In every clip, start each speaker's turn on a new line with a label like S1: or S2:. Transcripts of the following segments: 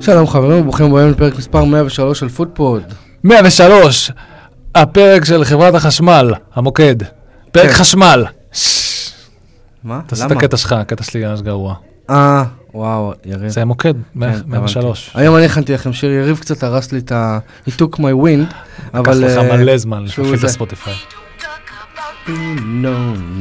S1: שלום חברים וברוכים הבאים לפרק מספר 103 של פודפוד.
S2: 103, הפרק של חברת החשמל, המוקד. פרק
S1: כן.
S2: חשמל.
S1: מה?
S2: תעשה את הקטע שלך, הקטע שלי ממש גרוע.
S1: אה, וואו, יריב.
S2: זה המוקד, מאה-
S1: כן,
S2: 103.
S1: הבנתי. היום אני הכנתי לכם שיר, יריב קצת הרס לי את ה... he took my wind,
S2: לקח
S1: אבל...
S2: לך
S1: אה,
S2: מלא זמן
S1: שהוא
S2: להפעיל את
S1: זה.
S2: הספוטיפיי.
S1: No,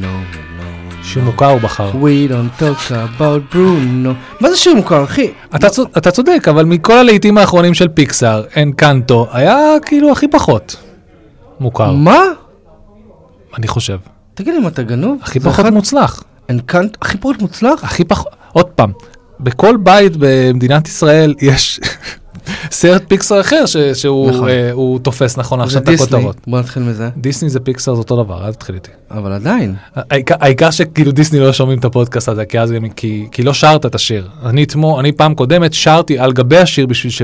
S1: no, no.
S2: שיר מוכר הוא בחר.
S1: We don't talk about Bruno. מה זה שיר מוכר, אחי?
S2: אתה צוד- אתה צודק, אבל מכל הלהיטים האחרונים של פיקסאר, אין קנטו, היה כאילו הכי פחות מוכר,
S1: מה?
S2: אני חושב.
S1: תגיד לי, מה אתה גנוב?
S2: הכי
S1: זה
S2: פחות אה,
S1: אחד-
S2: מוצלח.
S1: Encanto- הכי פחות מוצלח?
S2: הכי פחות, עוד פעם, בכל בית במדינת ישראל יש סרט פיקסאר אחר ש- שהוא
S1: נכון.
S2: אה, הוא תופס נכון
S1: זה
S2: עכשיו את
S1: דיסני.
S2: הכותרות.
S1: בוא נתחיל מזה.
S2: דיסני זה פיקסאר זה אותו דבר, אל תתחיל איתי.
S1: אבל עדיין.
S2: העיקר- העיקר שכאילו דיסני לא שומעים את הפודקאסט הזה, כי אז הם, כי, כי לא שרת את השיר. אני אתמול, אני פעם קודמת שרתי על גבי השיר בשביל ש...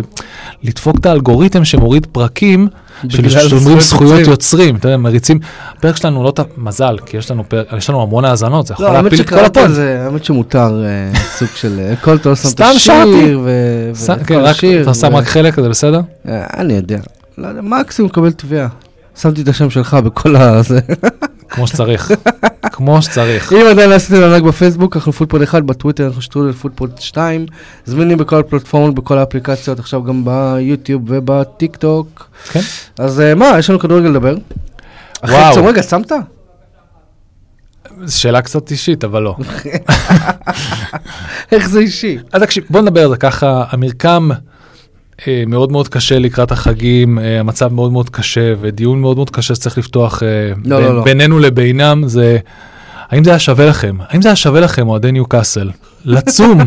S2: לדפוק את האלגוריתם שמוריד פרקים של
S1: בגלל
S2: שומרים
S1: זכויות
S2: זכויות
S1: יוצרים.
S2: יוצרים, אתה יודע, מריצים. הפרק שלנו לא... ת- מזל, כי יש לנו פרק, יש לנו המון האזנות, זה יכול
S1: לא, האמת
S2: להפיל את כל
S1: שקראת
S2: הפוד.
S1: זה, האמת שמותר אה, סוג של אה, כל טוב שם את
S2: סתם שרתי.
S1: השיר, ו-
S2: ש-
S1: ואת
S2: כן,
S1: כל
S2: רק-
S1: השיר,
S2: אתה שם
S1: ו-
S2: רק חלק, זה בסדר?
S1: אה, אני יודע, לא יודע, מקסימום מקבל תביעה. שמתי את השם שלך בכל ה... זה.
S2: כמו שצריך. כמו שצריך.
S1: אם עדיין לא עשיתם ענק בפייסבוק, אנחנו פודפוד 1, בטוויטר אנחנו שטרודל פודפוד 2, זמינים בכל הפלטפורמות, בכל האפליקציות, עכשיו גם ביוטיוב ובטיק טוק.
S2: כן.
S1: אז אה, מה, יש לנו כדורגל לדבר? אחי,
S2: וואו.
S1: צום, רגע, שמת?
S2: זו שאלה קצת אישית, אבל לא.
S1: איך זה אישי?
S2: אז אה, תקשיב, בוא נדבר על זה ככה, המרקם אה, מאוד מאוד קשה לקראת החגים, אה, המצב מאוד מאוד קשה ודיון מאוד מאוד קשה שצריך לפתוח אה,
S1: לא,
S2: בין-
S1: לא, לא.
S2: בינינו לבינם, זה האם זה היה שווה לכם, האם זה היה שווה לכם אוהדי ניוקאסל, לצום,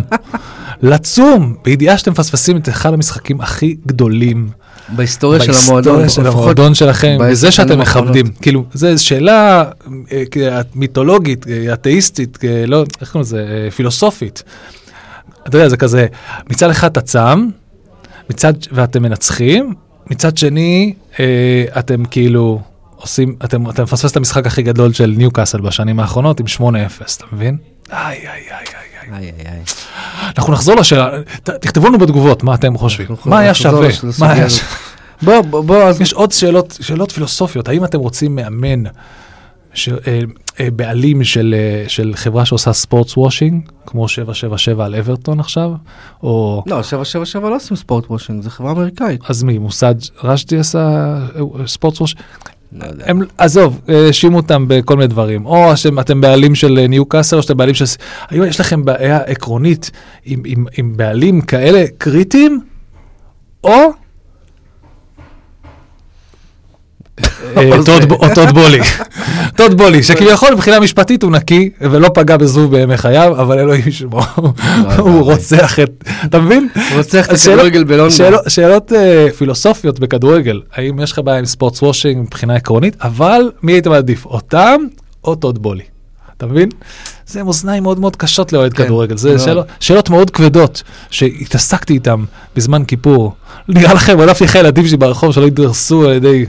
S2: לצום, בידיעה שאתם מפספסים את אחד המשחקים הכי גדולים
S1: בהיסטוריה של המועדון,
S2: בהיסטוריה של
S1: לפחות
S2: המועדון שלכם,
S1: בעשר
S2: וזה שאתם
S1: שנים
S2: מכבדים,
S1: האחרונות.
S2: כאילו, זו שאלה אה, כ- מיתולוגית, אה, אתאיסטית, אה, לא, איך קוראים לזה, אה, פילוסופית. אתה יודע, זה כזה, מצד אחד אתה צם, מצד, ואתם מנצחים, מצד שני, אה, אתם כאילו עושים, אתם אתם מפספס את המשחק הכי גדול של ניוקאסל בשנים האחרונות עם 8-0, אתה מבין? איי, איי, איי, איי.
S1: איי, איי, איי.
S2: אנחנו נחזור לשאלה, ת- תכתבו לנו בתגובות מה אתם חושבים,
S1: נכון, אנחנו
S2: מה היה
S1: נחזור
S2: שווה,
S1: לש- לסוגיה
S2: מה היה
S1: הזאת. בוא,
S2: שווה.
S1: בוא, בוא, אז
S2: יש עוד שאלות, שאלות פילוסופיות, האם אתם רוצים מאמן, ש, אה, אה, בעלים של, אה, של חברה שעושה ספורטס וושינג, כמו 777 על אברטון עכשיו, או
S1: לא, 777 לא עושים ספורט וושינג, זו חברה אמריקאית.
S2: אז מי, מוסד רשתי עשה ספורטס וושינג?
S1: לא יודע.
S2: הם, עזוב, אה, האשימו אותם בכל מיני דברים, או שאתם אתם בעלים של אה, ניו קאסל, או שאתם בעלים של... האם יש לכם בעיה עקרונית עם, עם, עם בעלים כאלה קריטיים, או... אה,
S1: או זה.
S2: טוד ב- או טוד בולי, טוד בולי, שכביכול מבחינה משפטית הוא נקי ולא פגע בזבוב בימי חייו, אבל אלוהים ישמור,
S1: וואי.
S2: הוא רוצח את, אתה מבין?
S1: רוצח את
S2: השאלות-
S1: הכדורגל בלונדון.
S2: שאלות, שאלות אה, פילוסופיות בכדורגל, האם יש לך בעיה עם ספורטס וושינג מבחינה עקרונית, אבל מי היית מעדיף, אותם או טוד בולי? אתה מבין? זה מאזניים מאוד מאוד קשות לאוהד
S1: כן,
S2: כדורגל,
S1: מאוד.
S2: זה שאלות, שאלות מאוד כבדות שהתעסקתי איתן בזמן כיפור. נראה לכם, רדפתי אחרי הילדים שלי ברחוב שלא ידרסו על ידי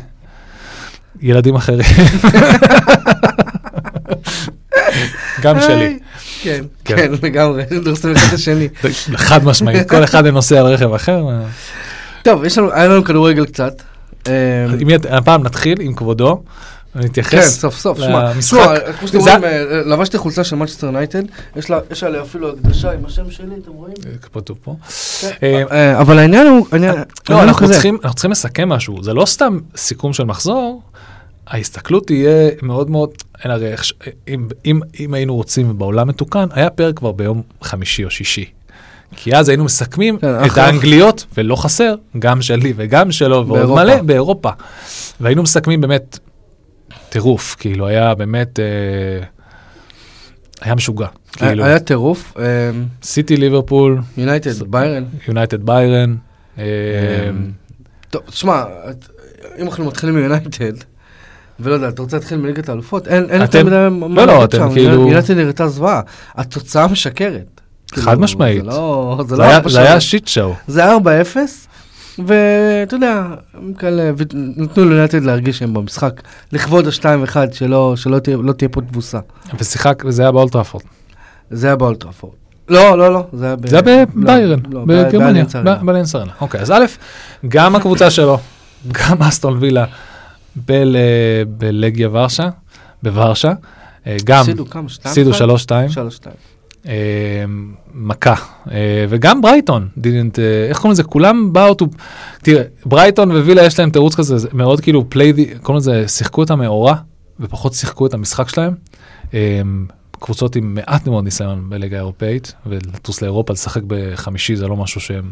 S2: ילדים אחרים. גם שלי,
S1: היי. כן,
S2: כן.
S1: כן, לגמרי, דורסים אחד את השני.
S2: חד משמעית, כל אחד נוסע על רכב אחר.
S1: טוב, יש לנו, היה לנו כדורגל קצת. אה,
S2: אם ית- הפעם נתחיל עם כבודו,
S1: כן,
S2: נתייחס.
S1: סוף סוף, שמע,
S2: למשחק.
S1: שמע, כמו שאתם
S2: זה-
S1: רואים, אה, לבשתי חולצה של מנצ'סטר יונייטד, יש לה- יש עליה אפילו הקדשה עם השם שלי, אתם רואים?
S2: כתוב פה. אה,
S1: אה, אבל העניין הוא, העניין העניין
S2: לא,
S1: הוא
S2: אנחנו
S1: כזה.
S2: צריכים אנחנו צריכים לסכם משהו, זה לא סתם סיכום של מחזור, ההסתכלות תהיה מאוד מאוד, אין הרי איך ש- אם- אם- אם היינו רוצים בעולם מתוקן, היה פרק כבר ביום חמישי או שישי. כי אז היינו מסכמים
S1: כן,
S2: את
S1: אחלה.
S2: האנגליות, ולא חסר, גם שלי וגם שלו, ועוד
S1: באירופה.
S2: מלא באירופה. והיינו מסכמים באמת טירוף, כאילו היה באמת, אה, היה משוגע. כאילו,
S1: היה טירוף, אה,
S2: סיטי ליברפול,
S1: יונייטד, ביירן.
S2: יונייטד ביירן. אה,
S1: טוב, שמע, את- אם אנחנו מתחילים מיונייטד, ולא יודע, אתה רוצה להתחיל מליגת האלופות? אין אין יותר
S2: אתם-
S1: מדי מה
S2: לא, לא, אתם כאילו-
S1: יונייטד נראתה זוועה, התוצאה משקרת.
S2: חד
S1: כאילו,
S2: משמעית.
S1: זה לא... זה לא
S2: זה היה-
S1: ארבע
S2: זה היה
S1: שלוש.
S2: שיט שואו.
S1: זה 4-0, ואתה יודע, הם כאלה, ו- נתנו ליונייטד להרגיש שהם במשחק, לכבוד ה-2-1, שלא שלא תהיה לא תהיה פה תבוסה.
S2: ושיחק, וזה היה באולטראפורד.
S1: זה היה באולטראפורד. לא, לא, לא, זה היה ב...
S2: זה היה
S1: לא,
S2: בביירן,
S1: לא,
S2: בגרמניה,
S1: באליאנס ארנה.
S2: באליאנס ארנה. אוקיי, אז א', גם הקבוצה שלו, גם אסטון וילה בל- אה, בלגיה ורשה, בוורשה, אה, גם
S1: הפסידו כמה? שתיים?
S2: הפסידו
S1: אחד?
S2: 3-2,
S1: שלוש, שתיים.
S2: אה, מכה, אה, וגם ברייטון, didn't, אה, איך קוראים לזה? כולם באו, to- תראה, ברייטון ווילה יש להם תירוץ כזה, זה מאוד כאילו פליי, קוראים לזה, שיחקו את המאורע, ופחות שיחקו את המשחק שלהם. אה, קבוצות עם מעט מאוד ניסיון בליגה האירופאית, ולטוס לאירופה, לשחק בחמישי זה לא משהו שהם...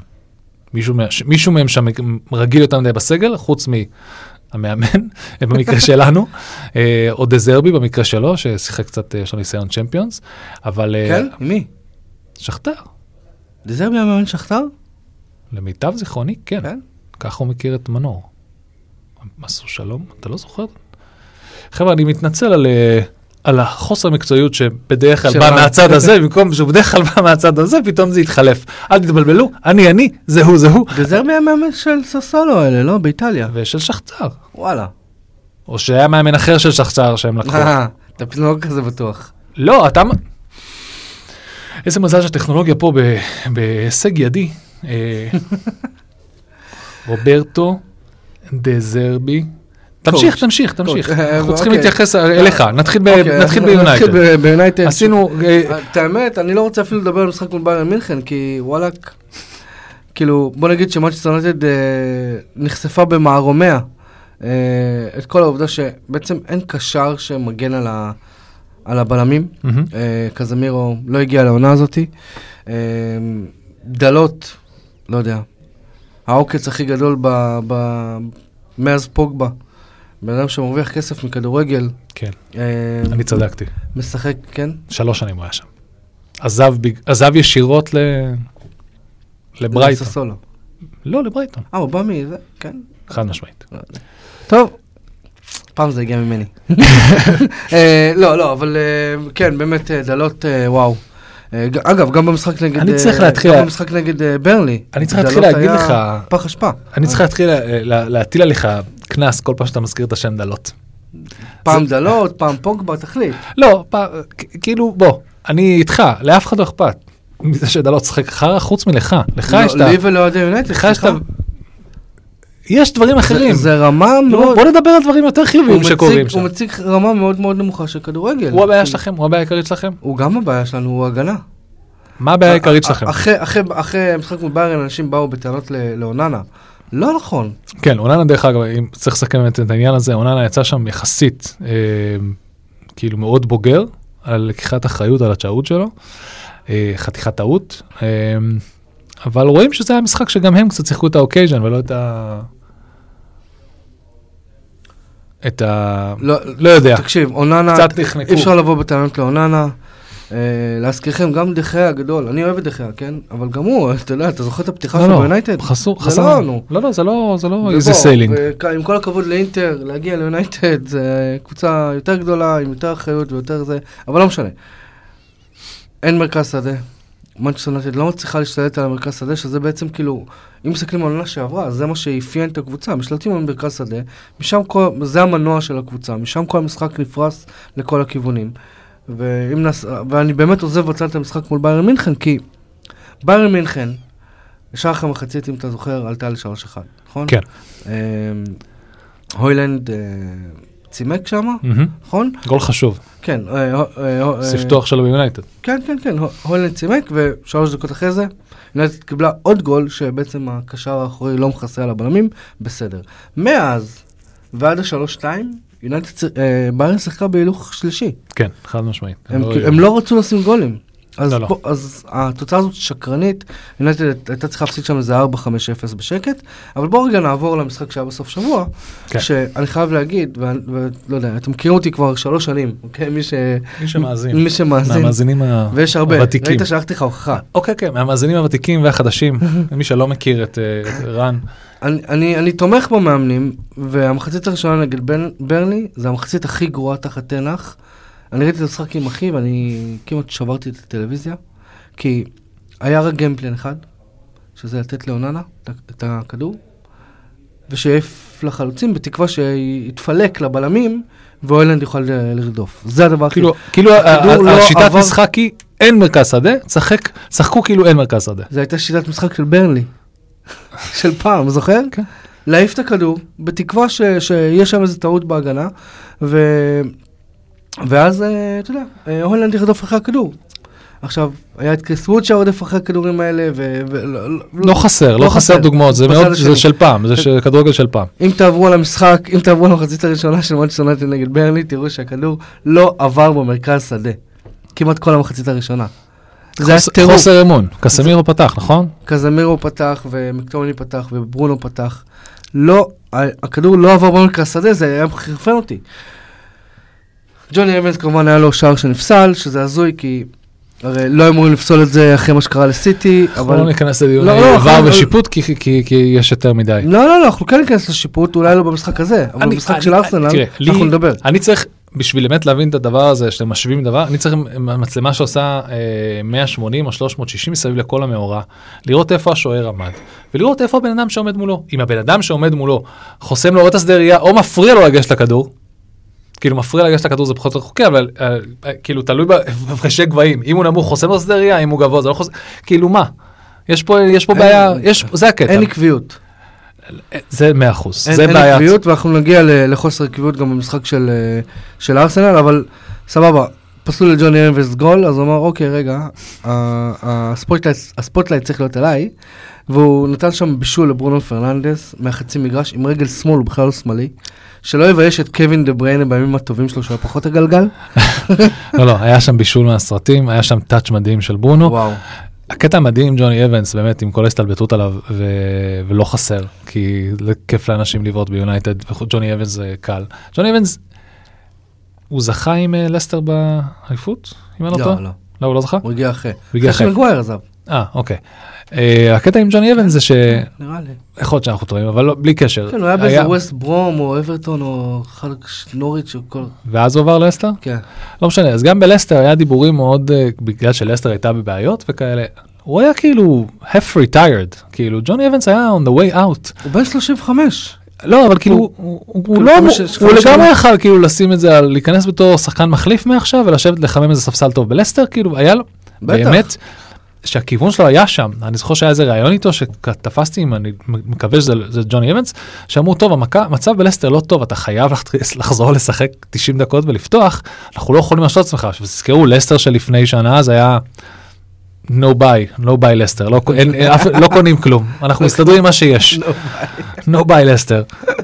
S2: מישהו, מה- ש- מישהו מהם שם רגיל יותר מדי בסגל, חוץ מהמאמן, במקרה שלנו, אה, או דזרבי במקרה שלו, ששיחק קצת, אה, יש לו ניסיון צ'מפיונס, אבל... אה,
S1: כן? עם מי?
S2: שכתר,
S1: דזרבי היה מאמן שכתר?
S2: למיטב זיכרוני, כן.
S1: כן.
S2: ככה הוא מכיר את מנור. הם עשו שלום? אתה לא זוכר? חבר'ה, אני מתנצל על, אה, על החוסר מקצועיות שבדרך כלל
S1: של
S2: בא
S1: מה?
S2: מהצד הזה, במקום שהוא בדרך כלל בא מהצד הזה, פתאום זה התחלף. אל תתבלבלו, אני אני, זה הוא זה הוא.
S1: דזרבי היה מאמן של ססולו האלה, לא? באיטליה.
S2: ושל שכתר.
S1: וואלה.
S2: או שהיה מאמן אחר של שכתר שהם לקחו.
S1: אה, אתה פתאום לא כזה בטוח.
S2: לא, אתה... מ- איזה מזל שהטכנולוגיה פה ב- בהישג ידי. אה, רוברטו דזרבי. תמשיך, תמשיך, תמשיך.
S1: קוץ'. אה,
S2: אנחנו צריכים
S1: אוקיי.
S2: להתייחס אליך. נתחיל ב-
S1: אוקיי, אז
S2: אה, נתחיל
S1: נתחיל
S2: ביונייטד.
S1: ב- כן, ביונייטד.
S2: עשינו... אה,
S1: את האמת, אני לא רוצה אפילו לדבר על משחק מול ביירן מינכן, כי וואלאק, כאילו, בוא נגיד שמאצ'סטר יונייטד אה, נחשפה במערומיה. אה, את כל העובדה שבעצם אין קשר שמגן על ה- על הבלמים.
S2: מהמם.
S1: אה, קזמירו לא הגיע לעונה הזאתי. אה, דלות, לא יודע. העוקץ הכי גדול ב... ב... מאז פוגבה. בן אדם שמרוויח כסף מכדורגל.
S2: כן,
S1: אה,
S2: אני צדקתי.
S1: משחק, כן?
S2: שלוש שנים הוא היה שם. עזב בג- עזב ישירות ל... לברייטון.
S1: לססולו.
S2: לא, לברייטון,
S1: אה, הוא בא מזה, כן.
S2: חד משמעית.
S1: טוב. פעם זה הגיע ממני. אה, לא, לא, אבל אה, כן, באמת אה, דלות, אה, וואו. אה, ג- אגב, גם במשחק נגד...
S2: אני
S1: אה,
S2: צריך להתחיל-
S1: גם במשחק נגד אה, ברנלי.
S2: אני צריך להתחיל
S1: דלות
S2: להגיד
S1: היה
S2: לך-
S1: פח אשפה.
S2: אני צריך להתחיל לה- לה- להטיל עליך קנס כל פעם שאתה מזכיר את השם דלות.
S1: פעם דלות, פעם פוגבה, תחליט.
S2: לא, פ... כ- כאילו, בוא, אני איתך, לאף אחד לא אכפת. מזה שאתה לא צחק חרא חוץ מלך. לך יש את ה...
S1: לא, לי ולאוהדי יונייטד,
S2: לך יש את
S1: סליחה.
S2: ה... יש דברים אחרים.
S1: זה- זה רמה
S2: נו,
S1: מאוד...
S2: בוא נדבר על דברים יותר
S1: הוא
S2: חיוביים
S1: מציג-
S2: שקורים שם.
S1: הוא מציג רמה מאוד מאוד נמוכה של כדורגל.
S2: הוא הבעיה שלכם, הוא הבעיה העיקרית שלכם.
S1: הוא גם הבעיה שלנו, הוא הגנה.
S2: מה
S1: לא,
S2: הבעיה
S1: אה,
S2: העיקרית שלכם?
S1: אחרי- אחרי- אחרי המשחק מול ביירן, אנשים באו בטענות ל- לאוננה. לא נכון.
S2: כן, אוננה דרך אגב, אם צריך לסכם את את העניין הזה, אוננה יצא שם יחסית, אה, כאילו מאוד בוגר, על לקיחת אחריות על הטעות שלו, אה, חתיכת טעות, אה, אבל רואים שזה היה משחק שגם הם קצת שיחקו את האוקייז'ן ולא את ה... את ה...
S1: לא,
S2: לא יודע,
S1: תקשיב, אוננה,
S2: קצת נחנקו.
S1: אי אפשר לבוא בטענות לאוננה. אה, להזכירכם, גם דחיה הגדול, אני אוהב את דחיה, כן? אבל גם הוא, אתה יודע, אתה זוכר את הפתיחה
S2: לא,
S1: שלו
S2: לא,
S1: ביונייטד?
S2: חסום,
S1: זה
S2: חסום,
S1: לא לנו.
S2: לא, לא, זה לא, זה לא
S1: ובוא,
S2: איזה סיילינג.
S1: וכ- עם כל הכבוד לאינטר, להגיע ליונייטד זה קבוצה יותר גדולה, עם יותר אחריות ויותר זה, אבל לא משנה. אין מרכז שדה. מנצ'סטר יונייטד לא מצליחה להשתלט על המרכז שדה, שזה בעצם כאילו, אם מסתכלים על עונה שעברה, אז זה מה שאפיין את הקבוצה, משתלטים על מרכז שדה, משם כל, זה המנוע של הקבוצה, משם כל המשחק נפרס לכל הכיוונים. ואם נס... ואני באמת עוזב בצד את המשחק מול ביירן מינכן, כי ביירן מינכן, שער אחרי מחצית, אם אתה זוכר, עלתה ל-3-1, נכון?
S2: כן.
S1: אמ, הוילנד אה, צימק שם,
S2: מהמם.
S1: נכון?
S2: גול חשוב,
S1: כן. אה, אה, אה,
S2: ספתוח שלו ביונייטד.
S1: כן, כן, כן, הו- הולנד צימק, ושלוש דקות אחרי זה, יונייטד קיבלה עוד גול, שבעצם הקשר האחורי לא מכסה על הבלמים, בסדר. מאז ועד השלוש-שתיים, יונייטד, צ- אה, ביירן שיחקה בהילוך שלישי.
S2: כן, חד משמעית.
S1: הם,
S2: לא-
S1: לא הם לא רצו לשים גולים. אז,
S2: לא, לא.
S1: פה, אז התוצאה הזאת שקרנית, יונייטד הייתה צריכה להפסיד שם איזה 4-5-0 בשקט, אבל בואו רגע נעבור למשחק שהיה בסוף שבוע,
S2: כן.
S1: שאני חייב להגיד, ואני- ולא יודע, אתם מכירים אותי כבר שלוש שנים, אוקיי? מי, ש...
S2: מי שמאזין.
S1: מי שמאזין,
S2: מהמאזינים ה...
S1: ויש הרבה,
S2: הוותיקים.
S1: ראית שלחתי לך הוכחה.
S2: אוקיי, כן, מהמאזינים הוותיקים והחדשים, מי שלא מכיר את אה, את רן,
S1: אני, אני, אני תומך במאמנים, והמחצית הראשונה נגד בן, ברני, זה המחצית הכי גרועה תחת תנח. אני ראיתי את המשחק עם אחי ואני כמעט שברתי את הטלוויזיה, כי היה רק גיימפלן אחד, שזה לתת לאוננה את ה- את הכדור, ושיעף לחלוצים, בתקווה שיתפלק לבלמים, ואוילנד יוכל אה, לרדוף. זה הדבר הכי...
S2: כאילו, כאילו ה-
S1: הכדור
S2: ה-
S1: לא
S2: השיטת
S1: עבר-
S2: משחק היא אין מרכז שדה, צחק, צחקו כאילו אין מרכז שדה.
S1: זו הייתה שיטת משחק של ברנלי. של פעם, זוכר?
S2: כן.
S1: להעיף את הכדור, בתקווה ש, שיש שם איזה טעות בהגנה, ו... ואז, אה, אתה יודע, אה, הולנד ירדוף אחרי הכדור. עכשיו, היה את קריס ווד שרודף אחרי הכדורים האלה, ו... ו... לא-
S2: לא חסר, לא חסר דוגמאות, זה
S1: בצד
S2: מאוד,
S1: השני.
S2: זה של פעם, זה של- כדורגל של פעם.
S1: אם תעברו על המשחק, אם תעברו על המחצית הראשונה של מונצ'סטר יונייטד נגד ברלי, תראו שהכדור לא עבר במרכז שדה. כמעט כל המחצית הראשונה. זה היה
S2: חוס-
S1: טירוף.
S2: חוסר אמון, קסמירו פתח, נכון?
S1: קזמירו פתח, ומקטומני פתח, וברונו פתח. לא, ה- הכדור לא עבר במרכז שדה, זה היה חרפן אותי. ג'וני אבנס כמובן היה לו שער שנפסל, שזה הזוי, כי הרי לא אמורים לפסול את זה אחרי מה שקרה לסיטי,
S2: אבל...
S1: אבל...
S2: לא ניכנס לדיון
S1: לא, לא,
S2: עבר
S1: אנחנו-
S2: ושיפוט, כי- כי- כי כי יש יותר מדי.
S1: לא, לא, לא, אנחנו כן ניכנס לשיפוט, אולי לא במשחק הזה, אבל
S2: אני-
S1: במשחק
S2: אני-
S1: של ארסנל,
S2: תראה, לי-
S1: אנחנו נדבר.
S2: אני צריך, בשביל באמת להבין את הדבר הזה, שאתם משווים דבר, אני צריך מצלמה שעושה אה, 180 או 360 מסביב לכל המאורע, לראות איפה השוער עמד, ולראות איפה הבן אדם שעומד מולו. אם הבן אדם שעומד מולו חוסם לו את השדה ראייה, או מפריע לו לגשת לכדור, כאילו מפריע לגשת לכדור זה פחות חוקי, אבל אה, אה, כאילו תלוי בהפרשי גבהים, אם הוא נמוך חוסם לו את השדה ראייה, אם הוא גבוה זה לא חוסם, כאילו מה? יש פה, יש פה
S1: אין-
S2: בעיה, יש, זה הקטע,
S1: אין עקביות.
S2: זה 100%,
S1: אין,
S2: זה
S1: אין
S2: בעיה.
S1: עקביות, ואנחנו נגיע ל- לחוסר עקביות גם במשחק של, אה, של ארסנל, אבל סבבה, פסלו לג'וני אבנס גול, אז הוא אמר, אוקיי, רגע, ה- הספוטלייט, הספוטלייט צריך להיות עליי, והוא נתן שם בישול לברונו פרננדס מהחצי מגרש עם רגל שמאל, הוא בכלל לא שמאלי. שלא יבייש את קווין דה בריינה בימים הטובים שלו, שהוא היה פחות הגלגל.
S2: לא, לא, היה שם בישול מהסרטים, היה שם טאץ' מדהים של ברונו.
S1: וואו.
S2: הקטע המדהים עם ג'וני אבנס, באמת, עם כל ההסתלבטות עליו, ו... ולא חסר, כי זה כיף לאנשים לבעוט ביונייטד, וג'וני אבנס זה קל. ג'וני אבנס, הוא זכה עם אה, לסטר באליפות, אם אני לא טועה?
S1: לא, לא,
S2: לא, הוא לא זכה?
S1: הוא הגיע אחרי.
S2: הוא הגיע אחרי.
S1: אחרי שמגווייר עזב,
S2: אה, אוקיי. אה, הקטע עם ג'וני אבנס זה ש...
S1: נראה לי.
S2: יכול להיות שאנחנו טועים, אבל לא, בלי קשר.
S1: כן, הוא היה באיזה ווסט ברום או אברטון או חלק נוריץ' או כל...
S2: ואז הוא עבר לסטר?
S1: כן.
S2: לא משנה, אז גם בלסטר היה דיבורים מאוד, אה, בגלל שלסטר הייתה בבעיות וכאלה, הוא היה כאילו half retired, כאילו ג'וני אבנס היה on the way out.
S1: הוא בן 35.
S2: לא, אבל כאילו,
S1: הוא-
S2: הוא- הוא הוא
S1: כאילו,
S2: לא,
S1: חמש-
S2: הוא
S1: חמש
S2: לגמרי
S1: שנים.
S2: יכל כאילו לשים את זה, על- להיכנס בתור שחקן מחליף מעכשיו ולשבת לחמם איזה ספסל טוב בלסטר, כאילו היה לו,
S1: בטח.
S2: באמת, שהכיוון שלו היה שם, אני זוכר שהיה איזה ראיון איתו שתפסתי, עם- אני מקווה שזה זה ג'וני אבנס, שאמרו טוב המכה- המצב בלסטר לא טוב אתה חייב לח- לחזור לשחק 90 דקות ולפתוח אנחנו לא יכולים לעשות את עצמך עכשיו תזכרו לסטר שלפני שנה זה היה. no buy, no buy לסטר, לא, אין, אין, אף- לא קונים כלום, אנחנו מסתדרים עם מה שיש, no buy לסטר. אה,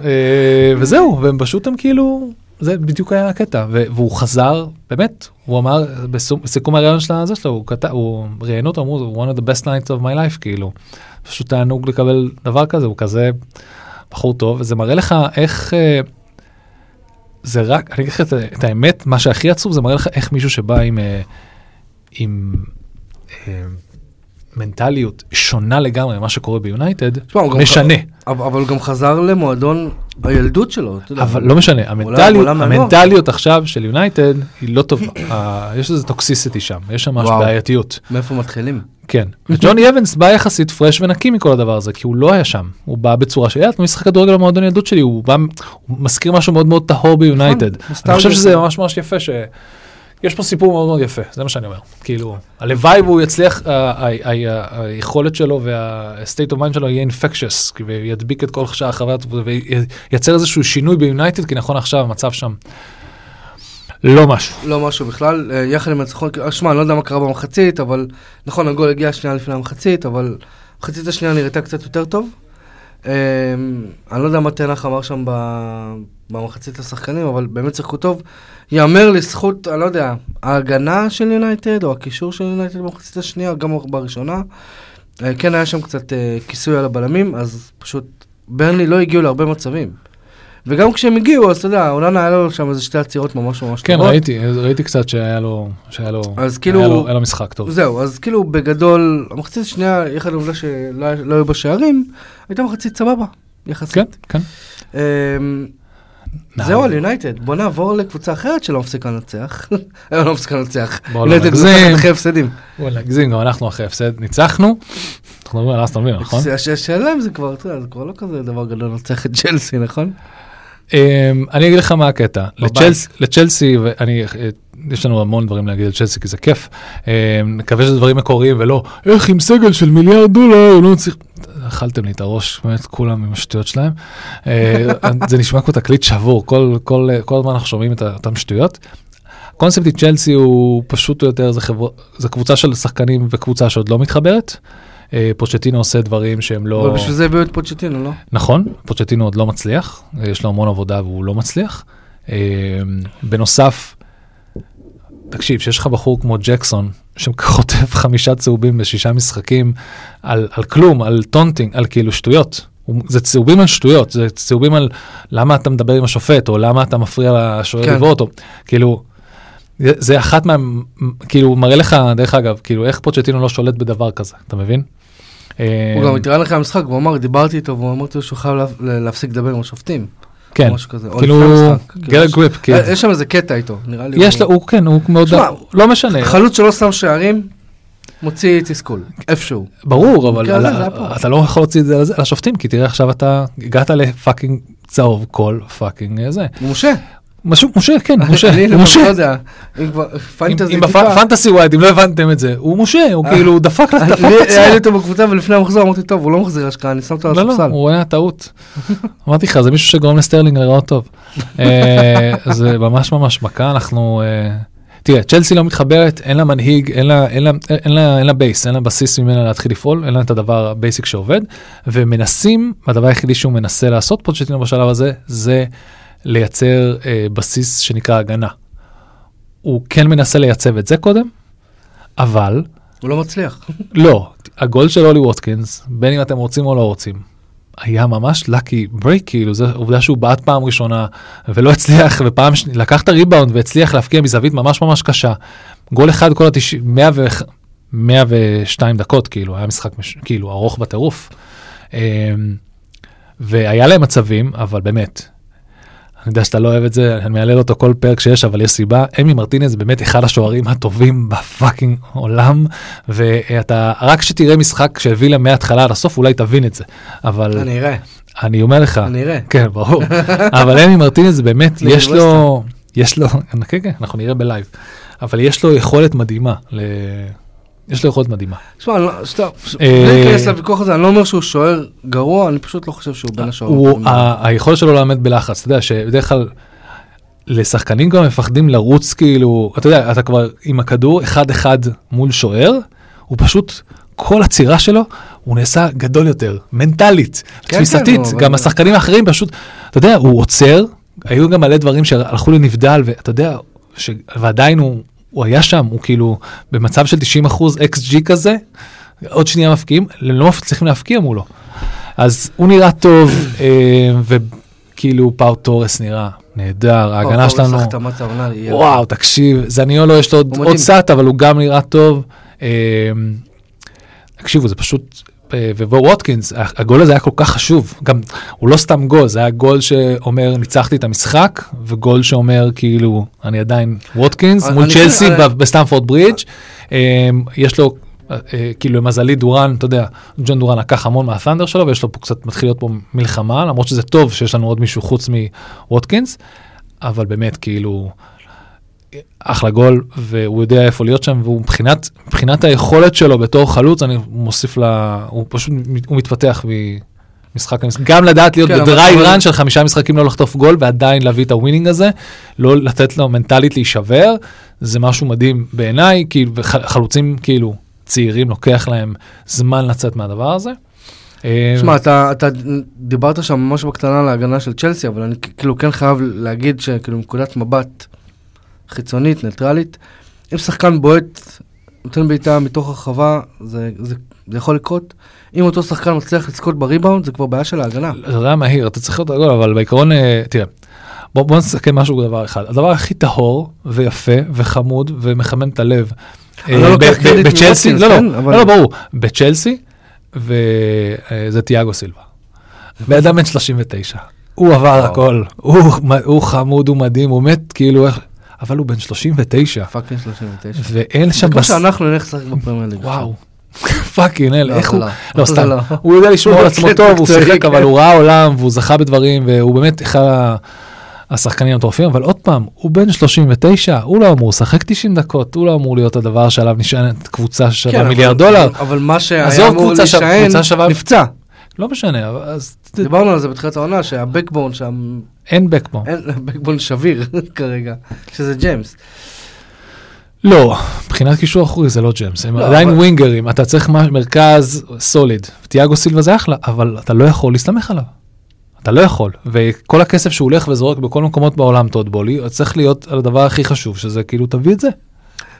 S2: וזהו, והם פשוט הם כאילו, זה בדיוק היה הקטע, ו- והוא חזר, באמת, הוא אמר, בסום- בסיכום הראיון של הזה שלו, הוא כתב, הוא ראיינו אותו, אמרו, one of the best nights of my life, כאילו, פשוט תענוג לקבל דבר כזה, הוא כזה בחור טוב, וזה מראה לך איך... אה, זה רק, אני אגיד לך את, ה- את האמת, מה שהכי עצוב זה מראה לך איך מישהו שבא עם, אה, עם אה, מנטליות שונה לגמרי ממה שקורה ביונייטד,
S1: תשמע, הוא גם-
S2: משנה.
S1: אבל אבל הוא גם חזר למועדון הילדות שלו, אתה יודע.
S2: אבל לא משנה, המנטליות,
S1: עולם הנוער.
S2: המנטליות עכשיו של יונייטד היא לא טובה, ה- יש איזה טוקסיסיטי שם, יש שם משהו
S1: וואו.
S2: בעייתיות,
S1: מאיפה מתחילים?
S2: כן. וג'וני אבנס בא יחסית פרש ונקי מכל הדבר הזה, כי הוא לא היה שם, הוא בא בצורה של, "אה, אתה משחק כדורגל במועדון ילדות שלי, הוא בא, הוא מזכיר משהו מאוד מאוד טהור ביונייטד.
S1: נכון,
S2: אני חושב
S1: נוסטלגיה.
S2: שזה ממש ממש יפה, ש... יש פה סיפור מאוד מאוד יפה, זה מה שאני אומר. כאילו, הלוואי והוא יצליח, ה- ה- ה- ה- היכולת שלו וה-state of mind שלו יהיה infectious, כי- וידביק את כל שאר החברת, וייצר איזשהו שינוי ביונייטד, כי נכון עכשיו המצב שם לא משהו.
S1: לא משהו בכלל, אה, יחד עם הניצחון, אה, שמע, אני לא יודע מה קרה במחצית, אבל נכון, הגול הגיע שנייה לפני המחצית, אבל המחצית השנייה נראתה קצת יותר טוב. אה, אני לא יודע מה תנח אמר שם ב- במחצית לשחקנים, אבל באמת שיחקו טוב. יאמר לזכות, אני לא יודע, ההגנה של יונייטד, או הקישור של יונייטד במחצית השנייה, גם בראשונה. אה, כן היה שם קצת אה, כיסוי על הבלמים, אז פשוט ברנלי לא הגיעו להרבה מצבים. וגם כשהם הגיעו, אז אתה יודע, אולנה היה לו שם איזה שתי עצירות ממש ממש
S2: כן,
S1: טובות.
S2: ראיתי, ראיתי קצת שהיה לו, שהיה לו,
S1: נכון. אז כאילו-
S2: היה לו, היה לו משחק טוב.
S1: זהו, אז כאילו בגדול, המחצית השנייה, יחד עם העובדה שלא היה- לא היו בה שערים, הייתה מחצית סבבה,
S2: כן,
S1: יחסית.
S2: כן.
S1: אמ, זהו על יונייטד, בוא נעבור לקבוצה אחרת שלא מפסיקה לנצח. היום לא מפסיקה לנצח.
S2: בואו לא
S1: יונייטד
S2: נגזים.
S1: מנצחת אחרי הפסדים.
S2: וואלה, להגזים, גם אנחנו אחרי הפסד ניצחנו. אנחנו מדברים על אסטון וילה, נכון?
S1: הש- השאלה אם זה כבר, אתה יודע, זה כבר לא כזה דבר גדול לנצח את צ'לסי, נכון?
S2: אמ, אני אגיד לך מה הקטע.
S1: בבית.
S2: לצ'לס- לצ'לסי, ואני אה, יש לנו המון דברים להגיד על צ'לסי, כי זה כיף. אה, נקווה שזה דברים מקוריים, ולא, איך עם סגל של מיליארד דולר, הוא לא צריך... אכלתם לי את הראש, באמת כולם עם השטויות שלהם. אה, זה נשמע כמו תקליט שבור, כל, כל, אה, כל הזמן אנחנו שומעים את אותן שטויות. הקונספט עם צ'לסי הוא פשוט יותר, זה, חבר... זה קבוצה של שחקנים וקבוצה שעוד לא מתחברת. אה, פוצ'טינו עושה דברים שהם לא...
S1: אבל בשביל זה הביאו את פוצ'טינו, לא?
S2: נכון, פוצ'טינו עוד לא מצליח, יש לו המון עבודה והוא לא מצליח. אה, בנוסף, תקשיב, שיש לך בחור כמו ג'קסון, שחוטף חמישה צהובים בשישה משחקים על, על כלום, על טונטינג, על כאילו שטויות. הוא- זה צהובים על שטויות, זה צהובים על למה אתה מדבר עם השופט, או למה אתה מפריע לשוער
S1: כן.
S2: לבעוט, או כאילו, זה- זה אחת מה... כאילו, מראה לך, דרך אגב, כאילו, איך פוצ'טינו לא שולט בדבר כזה, אתה מבין? אה.
S1: הוא גם התראיין אחרי המשחק, והוא אמר, דיברתי איתו, והוא אמרתי לו שהוא חייב להפ- להפסיק לדבר עם השופטים.
S2: כן,
S1: או משהו כזה. או
S2: כאילו,
S1: לפני המשחק, כאילו,
S2: גלג
S1: משהו-
S2: גוויפ, כאילו.
S1: יש שם איזה קטע איתו, נראה לי.
S2: יש לו, הוא כן, הוא מאוד,
S1: שמע,
S2: לא משנה,
S1: חלוץ שלא שם שערים, מוציא תסכול, איפשהו.
S2: ברור, אבל
S1: כן,
S2: על-
S1: זה היה פה.
S2: אתה לא יכול להוציא את זה על זה- על השופטים, כי תראה עכשיו אתה הגעת לפאקינג צהוב כל פאקינג אה, זה.
S1: הוא משה.
S2: משהו, משה, כן, משה,
S1: אני
S2: הוא
S1: לא
S2: משה.
S1: יודע, אם כבר פנטזי
S2: אם בפנטסי ווייד, אם לא הבנתם את זה, הוא משה, הוא
S1: אה.
S2: כאילו הוא דפק לך, דפק
S1: אני-
S2: את
S1: היה לי
S2: עצמו.
S1: אותו בקבוצה ולפני המחזור אמרתי, טוב, הוא לא מחזיר השקעה, אני שם אותו על
S2: לא, לא,
S1: הספסל.
S2: הוא היה טעות. אמרתי לך, זה מישהו שגורם לסטרלינג לראות טוב. אה, זה ממש ממש מכה, אנחנו... אה, תראה, צ'לסי לא מתחברת, אין לה מנהיג, אין לה, אין, לה, אין, לה, אין לה בייס, אין לה בסיס ממנה להתחיל לפעול, אין לה את הדבר הבייסיק שעובד, ומנסים, הדבר היחידי שהוא מנסה לעשות פוצ'טינו בשלב הזה, זה לייצר אה, בסיס שנקרא הגנה. הוא כן מנסה לייצב את זה קודם, אבל
S1: הוא לא מצליח.
S2: לא, הגול של אולי ווטקינס, בין אם אתם רוצים או לא רוצים, היה ממש לקי ברייק, כאילו, זו עובדה שהוא בעט פעם ראשונה ולא הצליח, ופעם שנייה, לקח את הריבאונד והצליח להפקיע מזווית ממש ממש קשה. גול אחד כל התשעים, מאה ו... 102 דקות, כאילו, היה משחק מש... כאילו ארוך בטירוף. אמ, והיה להם מצבים, אבל באמת, אני יודע שאתה לא אוהב את זה, אני מהלל אותו כל פרק שיש, אבל יש סיבה. אמי מרטינז באמת אחד השוערים הטובים בפאקינג עולם, ואתה, רק שתראה משחק שהביא לה מההתחלה עד הסוף, אולי תבין את זה. אבל
S1: אני אראה,
S2: אני אומר לך,
S1: אני אראה.
S2: כן, ברור. אבל אמי מרטינז באמת,
S1: נגד
S2: יש לו, יש לו, כן, כן, אנחנו נראה בלייב, אבל יש לו יכולת מדהימה. ל- יש לו יכולת מדהימה.
S1: תשמע, אני לא- סתם, ש-
S2: אה,
S1: בלי להיכנס לוויכוח הזה, אני לא אומר שהוא שוער גרוע, אני פשוט לא חושב שהוא בין השוערים.
S2: אה, הוא,
S1: הטובים.
S2: ה- היכולת שלו לעמד בלחץ, אתה יודע שבדרך כלל לשחקנים גם מפחדים לרוץ כאילו, אתה יודע, אתה כבר עם הכדור אחד אחד מול שוער, הוא פשוט, כל עצירה שלו, הוא נעשה גדול יותר, מנטלית,
S1: כן,
S2: תפיסתית,
S1: כן, הוא-
S2: גם
S1: אבל-
S2: השחקנים האחרים פשוט, אתה יודע, הוא עוצר, היו גם מלא דברים שהלכו לנבדל, ואתה יודע, ש... ועדיין הוא, הוא היה שם, הוא כאילו במצב של 90% XG כזה, עוד שנייה מפקיעים, לא מצליחים להפקיע מולו. אז הוא נראה טוב, אה, וכאילו פאו תורס נראה נהדר, ההגנה
S1: פאו
S2: שלנו,
S1: פאו החתמת העונה, היא-
S2: וואו, תקשיב, זניולו יש לו עוד-
S1: הוא
S2: עוד
S1: מדהים.
S2: סאט, אבל הוא גם נראה טוב. אה, תקשיבו, זה פשוט... אה, ובו ווטקינס, ה- הגול הזה היה כל כך חשוב, גם הוא לא סתם גול, זה היה גול שאומר ניצחתי את המשחק, וגול שאומר כאילו אני עדיין ווטקינס
S1: אני-
S2: מול
S1: אני-
S2: צ'לסי
S1: אני-
S2: ב- בסטמפורד ברידג', אה, יש לו אה, אה, כאילו למזלי דורן, אתה יודע, ג'ון דורן לקח המון מהת'נדר שלו ויש לו פה קצת מתחיל להיות פה מלחמה, למרות שזה טוב שיש לנו עוד מישהו חוץ מווטקינס, אבל באמת כאילו אחלה גול והוא יודע איפה להיות שם והוא מבחינת מבחינת היכולת שלו בתור חלוץ אני מוסיף לה הוא פשוט מת- הוא מתפתח ממשחק למשחק גם לדעת להיות
S1: כן, אבל-
S2: בדרייב
S1: אבל-
S2: רן של חמישה משחקים לא לחטוף גול ועדיין להביא את הווינינג הזה לא לתת לו מנטלית להישבר זה משהו מדהים בעיניי כאילו וח- חלוצים כאילו צעירים לוקח להם זמן לצאת מהדבר הזה. אה,
S1: שמע, אתה, אתה דיברת שם ממש בקטנה על ההגנה של צ'לסי, אבל אני כ- כאילו כן חייב להגיד שכאילו מנקודת מבט חיצונית, ניטרלית, אם שחקן בועט, נותן בעיטה מתוך הרחבה, זה, זה, זה יכול לקרות. אם אותו שחקן מצליח לזכות בריבאונד, זה כבר בעיה של ההגנה.
S2: זה היה מהיר, אתה צריך להיות רגוע, אבל בעיקרון, אה, תראה, בוא, בוא נסכם משהו בדבר אחד. הדבר הכי טהור ויפה וחמוד ומחמם את הלב.
S1: אני לא
S2: אה,
S1: לוקח
S2: ב- ב-
S1: קרדיט
S2: בצ'לסי,
S1: מווטקינס,
S2: לא, לא,
S1: כן? אבל-
S2: לא, לא, ברור, בצ'לסי, וזה תיאגו סילבה. בן אדם בן 39, הוא עבר
S1: וואו.
S2: הכל, הוא מ- הוא חמוד, הוא מדהים, הוא מת כאילו איך, אבל הוא בן 39,
S1: פאקינג 39.
S2: ואין שם...
S1: זה כמו
S2: בס-
S1: שאנחנו נלך לשחק בפרמייר ליג.
S2: וואו. פאקינג אל,
S1: לא,
S2: איך
S1: זה
S2: הוא,
S1: לא.
S2: לא
S1: זה
S2: סתם,
S1: לא.
S2: הוא יודע לשמור על
S1: הוא
S2: עצמו
S1: כן
S2: טוב, הוא
S1: מקצועי,
S2: שיחק
S1: כן.
S2: אבל הוא ראה עולם והוא זכה בדברים והוא באמת אחד ה- השחקנים המטורפים, אבל עוד פעם, הוא בן 39, הוא לא אמור לשחק 90 דקות, הוא לא אמור להיות הדבר שעליו נשענת קבוצה ששווה
S1: כן, אבל-
S2: מיליארד דולר.
S1: אבל מה שהיה
S2: עזוב,
S1: אמור
S2: קבוצה שווה-
S1: להישען,
S2: קבוצה שווה-
S1: נפצע.
S2: לא משנה, אבל אז ת-
S1: דיברנו על זה בתחילת העונה, שהבקבון שם,
S2: אין בקבון.
S1: אין- הבקבון שביר כרגע, שזה ג'יימס.
S2: לא, מבחינת קישור אחורי זה לא ג'יימס, הם
S1: לא,
S2: עדיין
S1: אבל-
S2: ווינגרים, אתה צריך מה- מרכז סוליד. תיאגו סילבה זה אחלה, אבל אתה לא יכול להסתמך עליו. אתה לא יכול, וכל הכסף שהוא הולך וזורק בכל המקומות בעולם, טוד בולי, צריך להיות על הדבר הכי חשוב, שזה כאילו תביא את זה.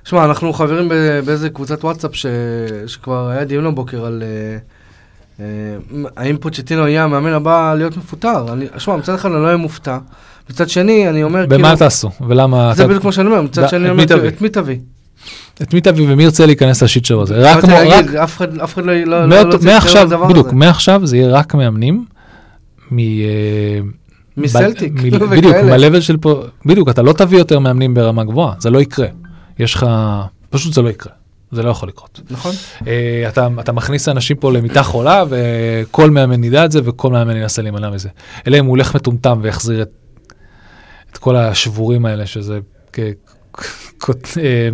S1: שמע, אנחנו חברים ב- באיזה קבוצת וואטסאפ ש... שכבר היה דיון הבוקר על אה, אה, מ- האם פוצ'טינו יהיה המאמן הבא להיות מפוטר. אני- שמע, מצד אחד אני לא אהיה מופתע, מצד שני אני אומר כאילו,
S2: במה תעשו, ולמה...
S1: זה
S2: אתה-
S1: בדיוק כמו שאני אומר, מצד
S2: ד-
S1: שני
S2: את
S1: אני
S2: מי
S1: אומר,
S2: תביא?
S1: את מי תביא?
S2: את מי תביא ומי ירצה להיכנס לשיט שלו הזה? רק
S1: באתי
S2: כמו... רק-
S1: להגיד, אף אחד- אף אחד לא- לא... לא- לא
S2: מאות-
S1: צריך
S2: מעכשיו,
S1: לדבר
S2: בדיוק,
S1: הזה.
S2: מעכשיו זה יהיה רק מאמנים מ... אה,
S1: מסלטיק
S2: ב- מ-
S1: וכאלה.
S2: בדיוק, ב-level של פה, בדיוק, אתה לא תביא יותר מאמנים ברמה גבוהה, זה לא יקרה. יש לך, פשוט זה לא יקרה, זה לא יכול לקרות.
S1: נכון.
S2: אה, אתה, אתה מכניס אנשים פה למיטה חולה, וכל מאמן ידע את זה, וכל מאמן ינסה להימנע מזה. אלא אם הוא הולך מטומטם ויחזיר את, את כל השבורים האלה, שזה... כ- כ- כ- אה,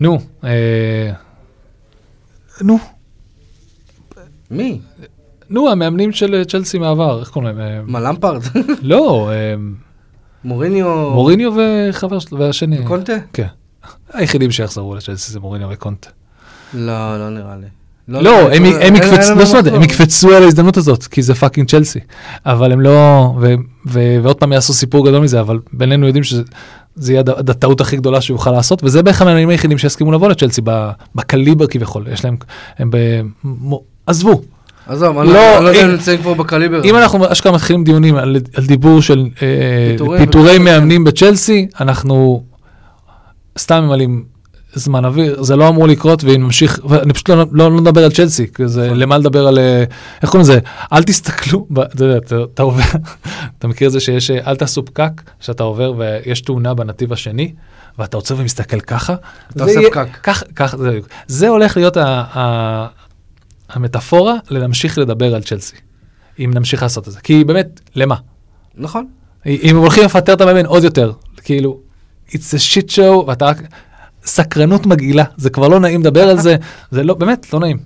S2: נו, אה, נו,
S1: מי?
S2: נו, המאמנים של אה, צ'לסי מעבר, איך קוראים להם? אה,
S1: מה, למפרד?
S2: לא, אה,
S1: מוריניו?
S2: מוריניו וחבר שלו, והשני.
S1: קונטה?
S2: כן. היחידים שיחזרו לצ'לסי זה מוריניו וקונטה.
S1: לא, לא נראה לי. נראה
S2: לא,
S1: לי. אין-
S2: הם
S1: אין
S2: הם יקפצו,
S1: להם
S2: לא זאת אומרת,
S1: מקום.
S2: הם יקפצו על ההזדמנות הזאת, כי זה פאקינג צ'לסי. אבל הם לא, ו- ו- ועוד פעם יעשו סיפור גדול מזה, אבל בינינו יודעים שזה זה יהיה הד- הד- הטעות הכי גדולה שהוא יוכל לעשות, וזה בערך המאמנים היחידים שיסכימו לבוא לצ'לסי, ב- בקליבר כביכול, יש להם, הם ב... מו- עזבו,
S1: עזוב, אני
S2: לא,
S1: לא אני לא יודע
S2: אם-
S1: אם נמצאים כבר בקליבר.
S2: אם אנחנו אשכרה מתחילים דיונים על, על דיבור של אה,
S1: פיטורים
S2: פיטורי
S1: וכאלה.
S2: מאמנים בצ'לסי, אנחנו סתם ממלאים זמן אוויר, זה לא אמור לקרות, ואם נמשיך, אני פשוט לא, לא, לא נדבר על צ'לסי, כי זה,
S1: נכון.
S2: למה לדבר על, אה, איך קוראים לזה, אל תסתכלו, ב- אתה יודע, אתה- אתה עובר, אתה מכיר את זה שיש, אה, אל תעשו פקק, שאתה עובר ויש תאונה בנתיב השני, ואתה עוצר ומסתכל ככה.
S1: אתה
S2: זה
S1: עושה
S2: יהיה-
S1: פקק.
S2: כך, כך, זה, בדיוק. זה הולך להיות ה, ה, המטאפורה ללהמשיך לדבר על צ'לסי. אם נמשיך לעשות את זה. כי באמת, למה?
S1: נכון.
S2: אם הם הולכים לפטר את המאמן עוד יותר, כאילו, it's a shit show, ואתה רק... סקרנות מגעילה, זה כבר לא נעים לדבר על זה, זה לא, באמת, לא נעים.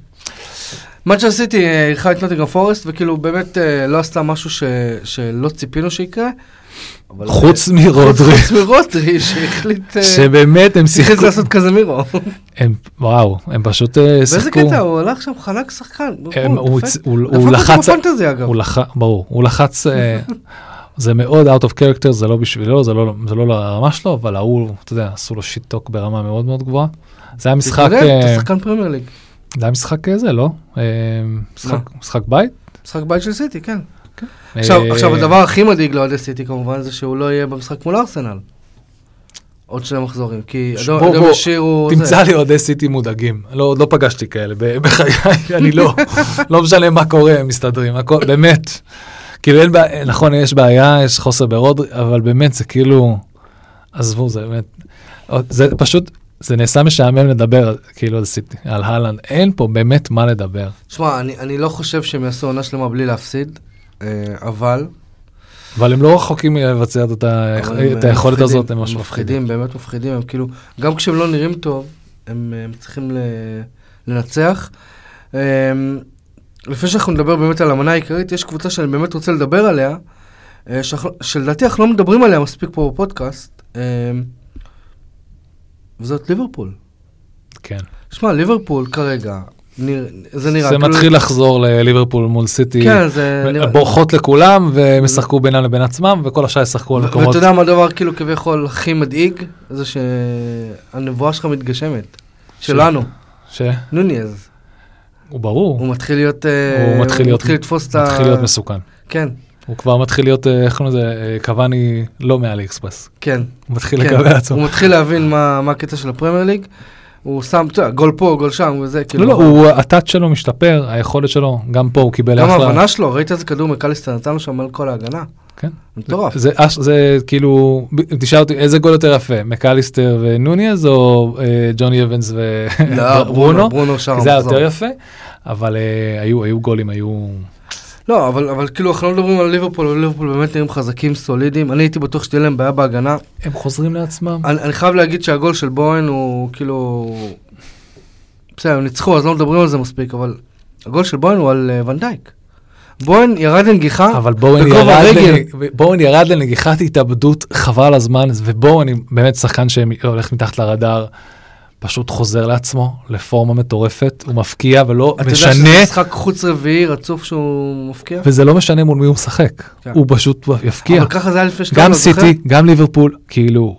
S1: מה שעשיתי, אה, אירחה את נוטינגרם פורסט, וכאילו באמת אה, לא עשתה משהו ש- שלא ציפינו שיקרה. אבל-
S2: חוץ
S1: חוץ-
S2: מרודרי,
S1: חוץ מרודרי, שהחליט אה,
S2: שבאמת הם
S1: שהחליט
S2: שיחקו,
S1: לעשות כזה מירו.
S2: הם, וואו, הם פשוט אה,
S1: באיזה
S2: שיחקו.
S1: קטע? הוא הלך שם, חלק שחקן.
S2: הם- הוא
S1: דפק-
S2: הצ- הוא-
S1: דפק
S2: הוא
S1: אותו
S2: לחץ,
S1: בפנטזי אגב.
S2: הוא לחץ, ברור, הוא לחץ, אה, זה מאוד out of character, זה לא בשבילו, זה לא, זה לא לרמה שלו, אבל ההוא, אתה יודע, עשו לו שיטוק ברמה מאוד מאוד גבוהה. זה היה משחק,
S1: תתמודד,
S2: אה,
S1: אתה שחקן פרמייר ליג.
S2: זה היה משחק אה, זה, לא? אה, משחק- משחק בית?
S1: משחק בית של סיטי, כן. עכשיו,
S2: אה,
S1: עכשיו הדבר הכי מדאיג לאוהדי סיטי כמובן זה שהוא לא יהיה במשחק מול ארסנל. עוד שני מחזורים, כי
S2: ש-
S1: אדום
S2: בוא,
S1: אדום
S2: בוא,
S1: ישיר הוא...
S2: תמצא
S1: זה.
S2: לי אוהדי סיטי מודאגים, לא, עוד לא פגשתי כאלה ב- בחיי, אני לא, לא משנה מה קורה, הם מסתדרים, הכל, באמת. כאילו אין בעיה, נכון, יש בעיה, יש חוסר ברודרי, אבל באמת זה כאילו, עזבו, זה באמת, זה פשוט, זה נעשה משעמם לדבר על- כאילו על סיטי, על אהלנד, אין פה באמת מה לדבר.
S1: שמע, אני, אני לא חושב שהם יעשו עונה שלמה בלי להפסיד, אה, אבל...
S2: אבל הם לא רחוקים מלבצע את אותה-
S1: אבל הם,
S2: את
S1: אה,
S2: היכולת
S1: מפחידים,
S2: הזאת, הם ממש מפחידים.
S1: מפחידים, באמת מפחידים, הם כאילו, גם כשהם לא נראים טוב, הם אה, מצליחים ל- לנצח. אה, לפני שאנחנו נדבר באמת על המנה העיקרית, יש קבוצה שאני באמת רוצה לדבר עליה, אה, שאנחנו- שלדעתי אנחנו לא מדברים עליה מספיק פה בפודקאסט, אה, וזאת ליברפול.
S2: כן.
S1: שמע, ליברפול כרגע, נרא- זה נראה...
S2: זה
S1: כאילו-
S2: מתחיל לחזור לליברפול מול סיטי.
S1: כן, זה נראה...
S2: בורחות לכולם והם ישחקו בינם לבין עצמם וכל השאר ישחקו על
S1: ו-
S2: מקומות.
S1: ואתה יודע מה הדבר כאילו כביכול הכי מדאיג? זה שהנבואה שלך מתגשמת. שלנו,
S2: ש...
S1: נוניז.
S2: הוא ברור,
S1: הוא מתחיל להיות... אה,
S2: הוא מתחיל להיות-
S1: מתחיל לתפוס את ה...
S2: מתחיל להיות מסוכן.
S1: כן,
S2: הוא כבר מתחיל להיות, אה, איך קוראים לזה, אה, קוואני לא מעלי אקספרס.
S1: כן.
S2: הוא מתחיל
S1: כן.
S2: לקבל כאילו, עצמו.
S1: הוא מתחיל להבין מה מה הקטע של הפרמייר ליג. הוא שם, אתה יודע, גול פה, גול שם, וזה, כאילו...
S2: לא, לא, הוא- הטאט שלו משתפר, היכולת שלו, גם פה הוא קיבל
S1: גם
S2: אחלה.
S1: ההבנה שלו, ראית איזה כדור מקליסטר נתן לו שם על כל ההגנה?
S2: כן.
S1: מטורף.
S2: זה אש- זה כאילו, ב- תשאל אותי איזה גול יותר יפה, מקליסטר ונוניאז או אה, ג'וני אבנס
S1: לא,
S2: וברונו?
S1: ברונו שר
S2: זה היה
S1: המחזור.
S2: יותר יפה, אבל אה, היו היו גולים, היו...
S1: לא, אבל, אבל כאילו אנחנו לא מדברים על ליברפול, אבל ליברפול באמת נראים חזקים, סולידיים. אני הייתי בטוח שתהיה להם בעיה בהגנה.
S2: הם חוזרים לעצמם.
S1: אני, אני חייב להגיד שהגול של בוהן הוא כאילו... בסדר, הם ניצחו, אז לא מדברים על זה מספיק, אבל הגול של בוהן הוא על uh, ונדייק. בוהן ירד לנגיחה
S2: אבל בואו
S1: בגובה
S2: ירד,
S1: רגל.
S2: לנג- בואו נרד לנגיחת התאבדות חבל הזמן ובואו אני באמת שחקן שהולך מתחת לרדאר פשוט חוזר לעצמו לפורמה מטורפת הוא מפקיע ולא
S1: אתה יודע שזה
S2: משנה
S1: משחק חוץ רביעי רצוף שהוא מפקיע?
S2: וזה לא משנה מול מי הוא משחק
S1: כן.
S2: הוא פשוט יפקיע
S1: אבל ככה זה היה לפני שתיים,
S2: גם
S1: אתה זוכר?
S2: סיטי גם ליברפול כאילו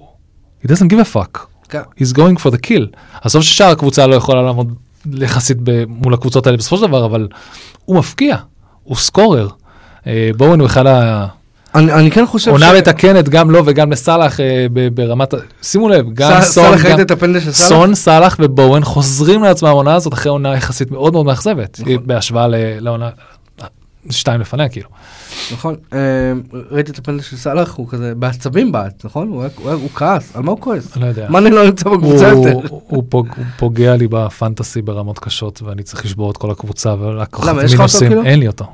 S2: he doesn't give a fuck
S1: כן.
S2: he's going for the kill. עזוב ששאר הקבוצה לא יכולה לעמוד יחסית ב- מול הקבוצות האלה בסופו של דבר אבל הוא מפקיע הוא סקורר. אה, בואו הוא אחד ה...
S1: אני אני כן חושב
S2: עונה מתקנת גם לו וגם לסאלח אה, ב- ברמת, ה- שימו לב,
S1: סל-
S2: גם סון,
S1: סאלח ראית
S2: גם-
S1: את הפנדל של סאלח?
S2: סון, סאלח ובואן חוזרים לעצמם העונה הזאת אחרי עונה יחסית מאוד מאוד מאכזבת,
S1: נכון.
S2: אה, בהשוואה ל- לעונה אה, שתיים לפניה כאילו.
S1: נכון, אה, ראיתי את הפנדל של סאלח, הוא כזה בעצבים בעט, נכון? הוא היה- הוא היה- הוא כעס, על מה הוא כועס?
S2: אני לא יודע.
S1: מאני לא נמצא
S2: הוא-
S1: בקבוצה יותר.
S2: הוא- הוא פוג- הוא פוגע לי בפנטסי ברמות קשות ואני צריך לשבור את כל הקבוצה ולקחת
S1: למה, יש לך אותו,
S2: מינוסים,
S1: כאילו?
S2: אין לי אותו.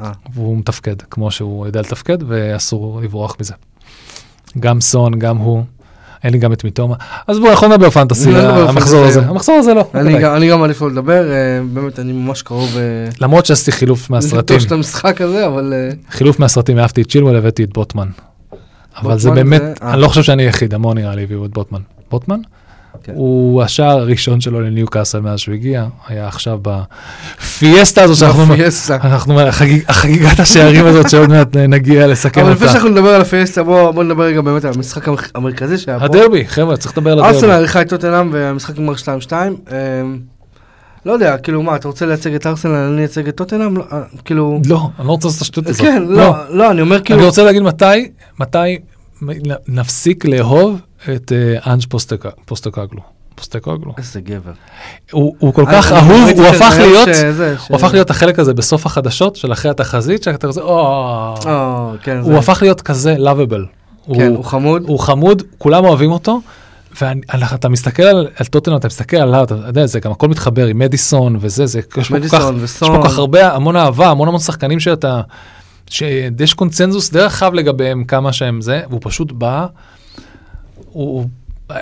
S1: אה.
S2: והוא מתפקד כמו שהוא יודע לתפקד ואסור לברוח מזה. גם סון גם הוא. אין לי גם את מיטומה. אז בואו אנחנו נדבר פנטסי
S1: לא נדבר
S2: על המחזור
S1: פנטסי
S2: הזה.
S1: היום.
S2: המחזור הזה לא. לא
S1: אני
S2: כדאי.
S1: גם- אני גם מעדיף לא לדבר, אה, באמת אני ממש קרוב אה,
S2: למרות שעשיתי חילוף מהסרטים.
S1: לתוש את המשחק הזה, אבל אה,
S2: חילוף מהסרטים אהבתי את צ'ילואל הבאתי את בוטמן. אבל זה
S1: בוטמן
S2: באמת
S1: זה- אה.
S2: אני לא חושב שאני היחיד המון נראה לי הביאו את בוטמן. בוטמן?
S1: כן.
S2: הוא השער הראשון שלו לניו קאסל מאז שהוא הגיע היה עכשיו בפיאסטה הזאת שאנחנו
S1: בפיאסטה.
S2: אנחנו החגיג- החגיגת השערים הזאת שעוד מעט נגיע לסכם
S1: אבל
S2: אותה.
S1: לפני שאנחנו נדבר על הפיאסטה, בוא בוא נדבר רגע באמת על המשחק המח- המרכזי שהיה פה.
S2: הדרבי חבר'ה צריך לדבר על
S1: ארסנל
S2: הדרבי.
S1: עריכה את טוטנאם והמשחק נגמר 2-2. אה, לא יודע, כאילו מה, אתה רוצה לייצג את ארסנל, אני אייצג את טוטנאם? לא, אה, כאילו...
S2: לא אני לא רוצה לעשות את השטות הזאת.
S1: כן, לא, לא, אני אומר כאילו...
S2: אני רוצה להגיד מתי מתי מ- נפסיק לאהוב את אה, אנג' פוסטקה- פוסטקוגלו. פוסטקוגלו.
S1: איזה גבר.
S2: הוא הוא כל
S1: אני-
S2: כך
S1: אני
S2: אהוב,
S1: ראיתי
S2: הוא
S1: שזה-
S2: הפך להיות,
S1: שזה-
S2: הוא
S1: ש-
S2: הפך להיות החלק הזה בסוף החדשות של אחרי התחזית, שאתה כזה, "או".
S1: אה, כן,
S2: הוא
S1: זה-
S2: הפך להיות כזה לאביבל.
S1: כן, הוא חמוד.
S2: הוא חמוד, כולם אוהבים אותו. ואתה מסתכל על, על טוטנאם, אתה מסתכל עליו, אתה יודע, זה גם הכל מתחבר עם מדיסון וזה, זה, יש פה כל כך,
S1: מדיסון
S2: יש פה
S1: וסון.
S2: כל כך הרבה, המון אהבה, המון המון שחקנים שאתה, שיש קונצנזוס די רחב לגביהם כמה שהם זה, והוא פשוט בא, הוא, הוא-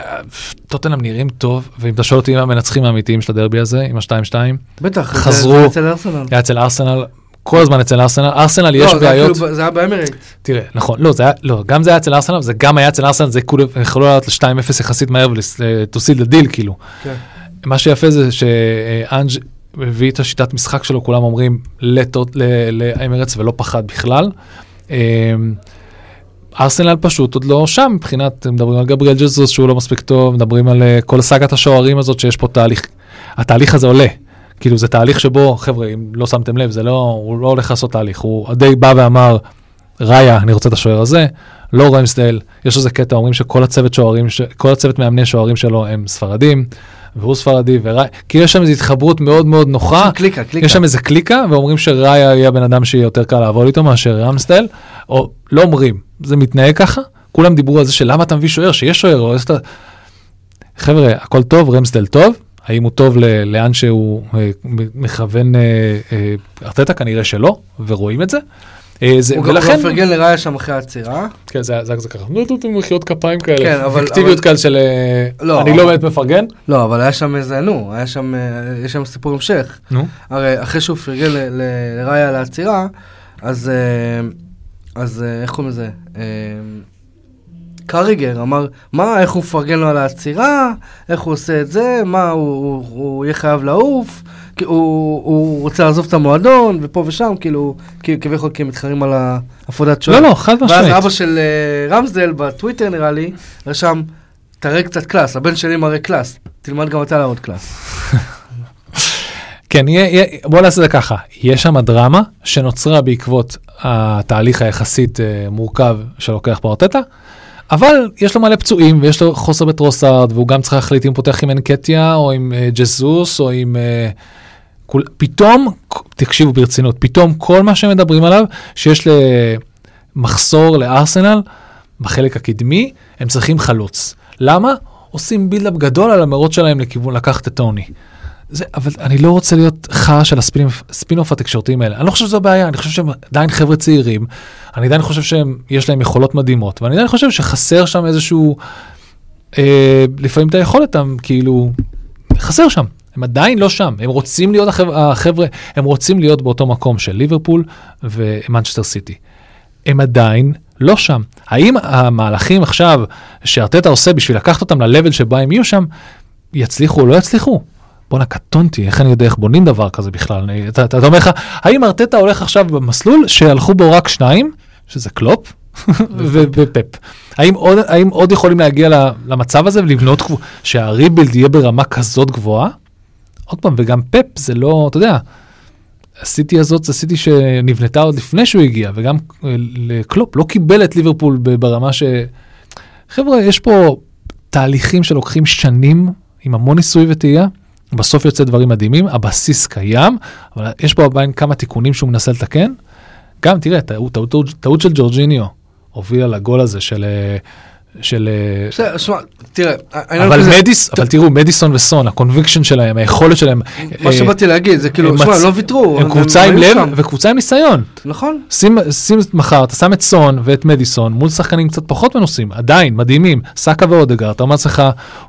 S2: טוטנאם נראים טוב, ואם אתה שואל אותי אם המנצחים האמיתיים של הדרבי הזה, עם ה-2-2,
S1: בטח, זה-
S2: חזרו.
S1: זה אצל ארסנל.
S2: היה אצל ארסנל, כל הזמן אצל ארסנל, ארסנל יש
S1: לא, זה היה
S2: בעיות.
S1: כאילו ב- זה היה באמירייט.
S2: תראה, נכון, לא, זה היה, לא, גם זה היה אצל ארסנל, זה גם היה אצל ארסנל, זה כאילו, הם יכלו לעלות ל-2-0 יחסית מהר ול-to seal the deal, כאילו.
S1: כן.
S2: מה שיפה זה שאנג' הביא את השיטת משחק שלו, כולם אומרים, לטוט- ל- לאמירטס ולא פחד בכלל. אמ, ארסנל פשוט עוד לא שם מבחינת, מדברים על גבריאל ג'זוס שהוא לא מספיק טוב, מדברים על אה, כל סאגת השוערים הזאת שיש פה תהליך, התהליך הזה עולה. כאילו זה תהליך שבו, חבר'ה, אם לא שמתם לב, זה לא, הוא לא הולך לעשות תהליך, הוא די בא ואמר, ראיה, אני רוצה את השוער הזה, לא רמסדל, יש איזה קטע, אומרים שכל הצוות שוערים, ש- כל הצוות מאמני שוערים שלו הם ספרדים, והוא ספרדי, וראיה, כאילו יש שם איזו התחברות מאוד מאוד נוחה.
S1: קליקה, קליקה.
S2: יש שם איזה קליקה ואומרים שראיה יהיה הבן אדם שיהיה יותר קל לעבוד איתו מאשר רמסטל, או לא אומרים, זה מתנהג ככה, כולם דיברו על זה שלמה אתה מביא שוער, שיש שוער, או איזה... חבר'ה, הכל טוב, רמסטל טוב, האם הוא טוב ל- לאן שהוא אה, מ- מכוון אה, אה, ארטטה? כנראה שלא, ורואים את זה. אה, זה
S1: הוא גם לא
S2: ולכן,
S1: גם פרגן לראיה שם אחרי העצירה.
S2: כן, זה היה זה היה כזה ככה, נו, נו, נו, מחיאות כפיים
S1: כן,
S2: כאלה,
S1: אבל-
S2: אקטיביות
S1: אבל-
S2: כאלה של אה,
S1: לא,
S2: אני
S1: אבל-
S2: לא באמת מפרגן.
S1: לא, אבל היה שם איזה, נו, היה שם, אה, יש שם סיפור המשך.
S2: נו,
S1: הרי אחרי שהוא פרגן ל- ל- לראיה על העצירה, אז, אה, אז אה, איך קוראים לזה? אה, קריגר אמר, מה, איך הוא מפרגן לו על העצירה, איך הוא עושה את זה, מה, הוא, הוא, הוא יהיה חייב לעוף, כי הוא, הוא רוצה לעזוב את המועדון, ופה ושם, כאילו, כי- כביכול כי הם מתחרים על הפרדת שוער.
S2: לא, לא, חד
S1: ואז
S2: משמעית.
S1: אבא של אה, רמזדל בטוויטר נראה לי, רשם, תראה קצת קלאס, הבן שלי מראה קלאס, תלמד גם אתה להראות קלאס.
S2: כן, יהיה, יהיה, בוא נעשה את זה ככה, יש שם דרמה שנוצרה בעקבות התהליך היחסית אה, מורכב שלוקח בארטטה, אבל יש לו מלא פצועים ויש לו חוסר בטרוסארד והוא גם צריך להחליט אם הוא פותח עם אנקטיה או עם אה, ג'זוס או עם... אה, כול, פתאום, תקשיבו ברצינות, פתאום כל מה שמדברים עליו שיש למחסור לארסנל בחלק הקדמי, הם צריכים חלוץ. למה? עושים בילדאפ גדול על המרוץ שלהם לכיוון לקחת את טוני. זה, אבל אני לא רוצה להיות חרא של הספין-אוף התקשורתיים האלה. אני לא חושב שזו הבעיה, אני חושב שהם עדיין חבר'ה צעירים, אני עדיין חושב שהם, יש להם יכולות מדהימות, ואני עדיין חושב שחסר שם איזשהו, אה, לפעמים את היכולת, הם כאילו, חסר שם. הם עדיין לא שם, הם רוצים להיות החבר'ה, החבר'ה הם רוצים להיות באותו מקום של ליברפול ומנצ'סטר סיטי. הם עדיין לא שם. האם המהלכים עכשיו שארטטה עושה בשביל לקחת אותם ל-level שבה הם יהיו שם, יצליחו או לא יצליחו? בואנה, קטונתי, איך אני יודע איך בונים דבר כזה בכלל? אני- אתה, אתה, אתה אומר לך, האם ארטטה הולך עכשיו במסלול שהלכו בו רק שניים, שזה קלופ ו- ופפ? האם עוד, האם עוד יכולים להגיע ל- למצב הזה ולבנות, קבו- שהריבילד יהיה ברמה כזאת גבוהה? עוד פעם, וגם פפ זה לא, אתה יודע, הסיטי הזאת זה סיטי שנבנתה עוד לפני שהוא הגיע, וגם אה, ל- קלופ לא קיבל את ליברפול ב- ברמה ש... חבר'ה, יש פה תהליכים שלוקחים שנים, עם המון ניסוי וטעייה, בסוף יוצא דברים מדהימים, הבסיס קיים, אבל יש פה עדיין כמה תיקונים שהוא מנסה לתקן. גם, תראה, טעות, טעות, טעות, טעות של ג'ורג'יניו הובילה לגול הזה של... אה, של אה,
S1: בסדר, שמע, תראה, העניין הוא
S2: אבל
S1: כזה-
S2: מדיס, אבל תראו, מדיסון וסון, הקונביקשן שלהם, היכולת שלהם.
S1: מה
S2: אה,
S1: שבאתי להגיד, זה כאילו,
S2: הם
S1: שמע,
S2: אה, מצ-
S1: לא ויתרו.
S2: הם קבוצה עם
S1: היו
S2: לב
S1: שם.
S2: וקבוצה עם ניסיון.
S1: נכון.
S2: שים, שים מחר, אתה שם את סון ואת מדיסון מול שחקנים קצת פחות מנוסים, עדיין, מדהימים, סאקה ואודגר, אתה אומר לעצמך,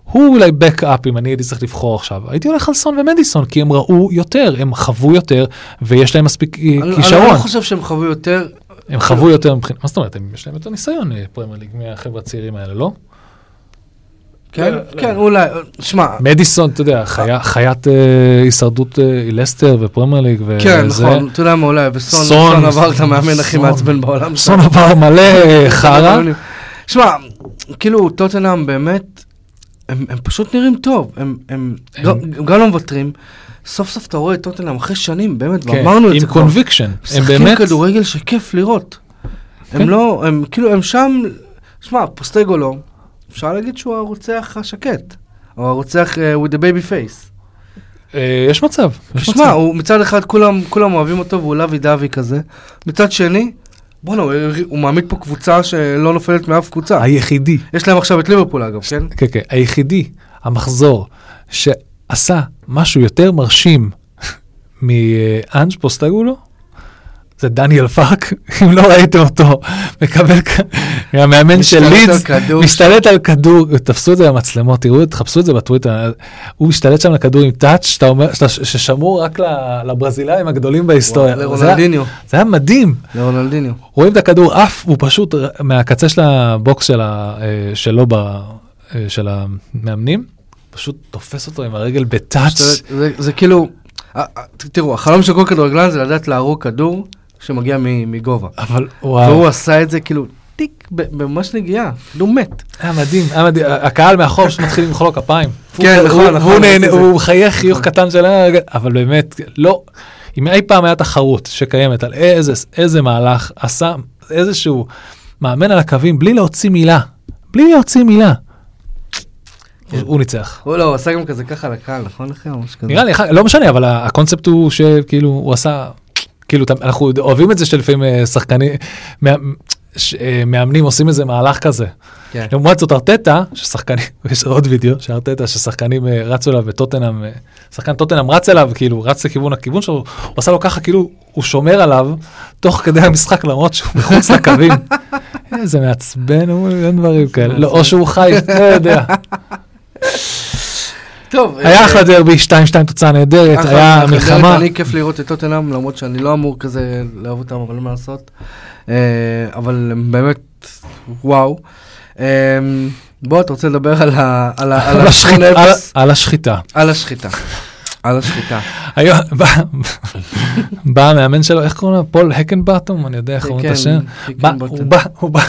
S2: הוא אולי בקאפ אם אני הייתי צריך לבחור עכשיו, הייתי הולך על סון ומדיסון, כי הם ראו יותר, הם חוו יותר, ויש להם מספיק אה,
S1: אני- אני
S2: כישרון,
S1: לא חושב שהם חוו יותר,
S2: הם חוו יותר מבחינת, מה זאת אומרת, הם- יש להם יותר ניסיון אה, פרמייר ליג מהחבר'ה הצעירים האלה, לא?
S1: כן?
S2: לא, לא.
S1: כן, אולי, שמע,
S2: מדיסון, אתה יודע, חיה- חיית אה, הישרדות אה, לסטר ופרמייר ליג, וזה,
S1: כן, נכון, אתה יודע מה, אולי, וסון
S2: סון-
S1: סון עבר את המאמן הכי
S2: סון.
S1: מעצבן בעולם. לא
S2: סון עבר מלא אה, חרא,
S1: שמע, כאילו, טוטנאם באמת, הם הם פשוט נראים טוב, הם- הם
S2: הם-
S1: לא- הם גם לא מוותרים. סוף סוף אתה רואה את טוטנאם אחרי שנים, באמת,
S2: כן,
S1: ואמרנו את
S2: עם
S1: זה כבר.
S2: קונביקשן, הם
S1: משחקים
S2: באמת,
S1: כדורגל שכיף לראות.
S2: כן.
S1: הם לא, הם כאילו, הם שם, שמע, פוסטגולו, אפשר להגיד שהוא הרוצח השקט, או הרוצח אה, with the baby face.
S2: אה, יש מצב, יש
S1: שמע,
S2: מצב.
S1: הוא מצד אחד כולם, כולם אוהבים אותו והוא לוי דווי כזה, מצד שני, בואנה, הוא, הוא מעמיד פה קבוצה שלא נופלת מאף קבוצה.
S2: היחידי,
S1: יש להם עכשיו את ליברפול אגב, כן?
S2: כן כן, היחידי, המחזור, שעשה משהו יותר מרשים מאנג' פוסטגולו, זה דניאל פאק, אם לא ראיתם אותו, מקבל, כ- המאמן של
S1: משתלט על
S2: לידס,
S1: כדור.
S2: משתלט על כדור, תפסו את זה במצלמות, תראו, תחפשו את זה בטוויטר, הוא משתלט שם לכדור עם טאץ', שאתה אומר- שאתה- ששמור רק ל- לברזילאים הגדולים בהיסטוריה. זה היה-
S1: לרונלדיניו,
S2: זה היה מדהים.
S1: לרונלדיניו.
S2: רואים את הכדור עף, הוא פשוט ר- מהקצה של הבוקס של ה, אה, שלו, ב, אה, של המאמנים, פשוט תופס אותו עם הרגל בטאץ'.
S1: זה- זה- זה כאילו, אה, אה, ת- תראו, החלום של כל כדורגלן זה לדעת להרוג כדור שמגיע מ- מגובה.
S2: אבל
S1: והוא
S2: וואו,
S1: עשה את זה כאילו, טיק, ב- ממש נגיעה, כאילו מת.
S2: היה אה, מדהים, היה מדהים, הקהל מאחור פשוט מתחיל למחוא לו כפיים.
S1: כן,
S2: הוא-
S1: נכון,
S2: הוא-
S1: נכון,
S2: הוא
S1: ראיתי
S2: נהנה,
S1: את זה.
S2: הוא מחייך חיוך
S1: נכון.
S2: קטן של... "אה", אבל באמת, לא, אם אי פעם היה תחרות שקיימת על איזה, איזה מהלך עשה איזשהו מאמן על הקווים בלי להוציא מילה, בלי להוציא מילה, הוא- הוא ניצח.
S1: הוא לא, הוא עשה גם כזה ככה לקהל, נכון אחי? או משהו כזה.
S2: נראה לי, אחר- לא משנה, אבל ה- הקונספט הוא שכאילו הוא עשה, כאילו אתה- אנחנו אוהבים את זה שלפעמים אה, שחקנים, מה- ש- אה, מאמנים עושים איזה מהלך כזה.
S1: כן.
S2: לעומת זאת ארטטה, ששחקנים, יש עוד וידאו, שארטטה, ששחקנים אה, רצו אליו וטוטנאם, אה, שחקן טוטנאם רץ אליו, כאילו רץ לכיוון הכיוון שלו, הוא עשה לו ככה, כאילו הוא שומר עליו, תוך כדי המשחק למרות שהוא מחוץ לקווים. איזה מעצבן, הוא- אין דברים כאלה, לא, או שהוא חי, לא יודע.
S1: טוב,
S2: היה
S1: אה,
S2: אחלה דרבי, 2-2 תוצאה נהדרת,
S1: אחלה,
S2: היה
S1: אחלה,
S2: מלחמה.
S1: אני כיף לראות את טוטנאם, למרות שאני לא אמור כזה לאהוב אותם, אבל אין מה לעשות. אה, אבל הם באמת, וואו. אה, בוא, אתה רוצה לדבר על ה... על ה... על
S2: על השחיט-
S1: ה...
S2: על- על השחיטה.
S1: על השחיטה. על השחיטה.
S2: היום בא- בא המאמן שלו, איך קוראים לו? פול הקנבטום? אני יודע איך קוראים את
S1: כן,
S2: השם.
S1: כן,
S2: בא-
S1: בוטן.
S2: הוא בא, הוא בא,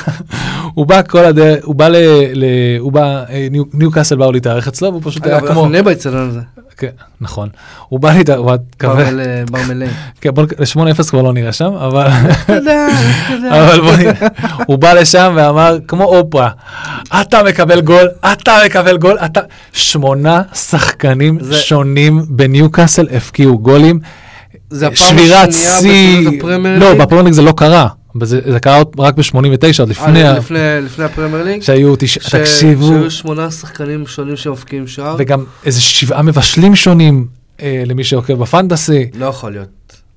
S2: הוא בא כל הדרך, הוא בא ל... ל- הוא בא, אה, ניו- ניו קאסל באו להתארח אצלו, והוא פשוט היה
S1: אגב,
S2: כמו...
S1: אנחנו נהיה באצטדיון הזה.
S2: כן, נכון. הוא בא להתארח, הוא היה כבד,
S1: אה, ברמלי.
S2: כן, בוא נק- 8-0 כבר לא נראה שם, אבל...
S1: אתה יודע, אתה יודע.
S2: אבל בוא נראה, הוא בא לשם ואמר, כמו אופרה, אתה מקבל גול, אתה מקבל גול, אתה... שמונה שחקנים
S1: זה-
S2: שונים בניוקאסל הפקיעו גולים,
S1: זה הפעם
S2: שבירת
S1: השנייה
S2: שיא,
S1: בתולדות הפרמייר
S2: לא,
S1: ליג.
S2: בפרמייר ליג זה לא קרה, זה זה קרה עוד רק ב-89, עוד לפני,
S1: אה,
S2: ה-
S1: לפני- לפני הפרמייר ליג.
S2: שהיו תשעה,
S1: ש-
S2: תקשיבו,
S1: שהיו שמונה שחקנים שונים שמבקיעים שער.
S2: וגם איזה שבעה מבשלים שונים, אה, למי שעוקב בפנטסי.
S1: לא יכול להיות.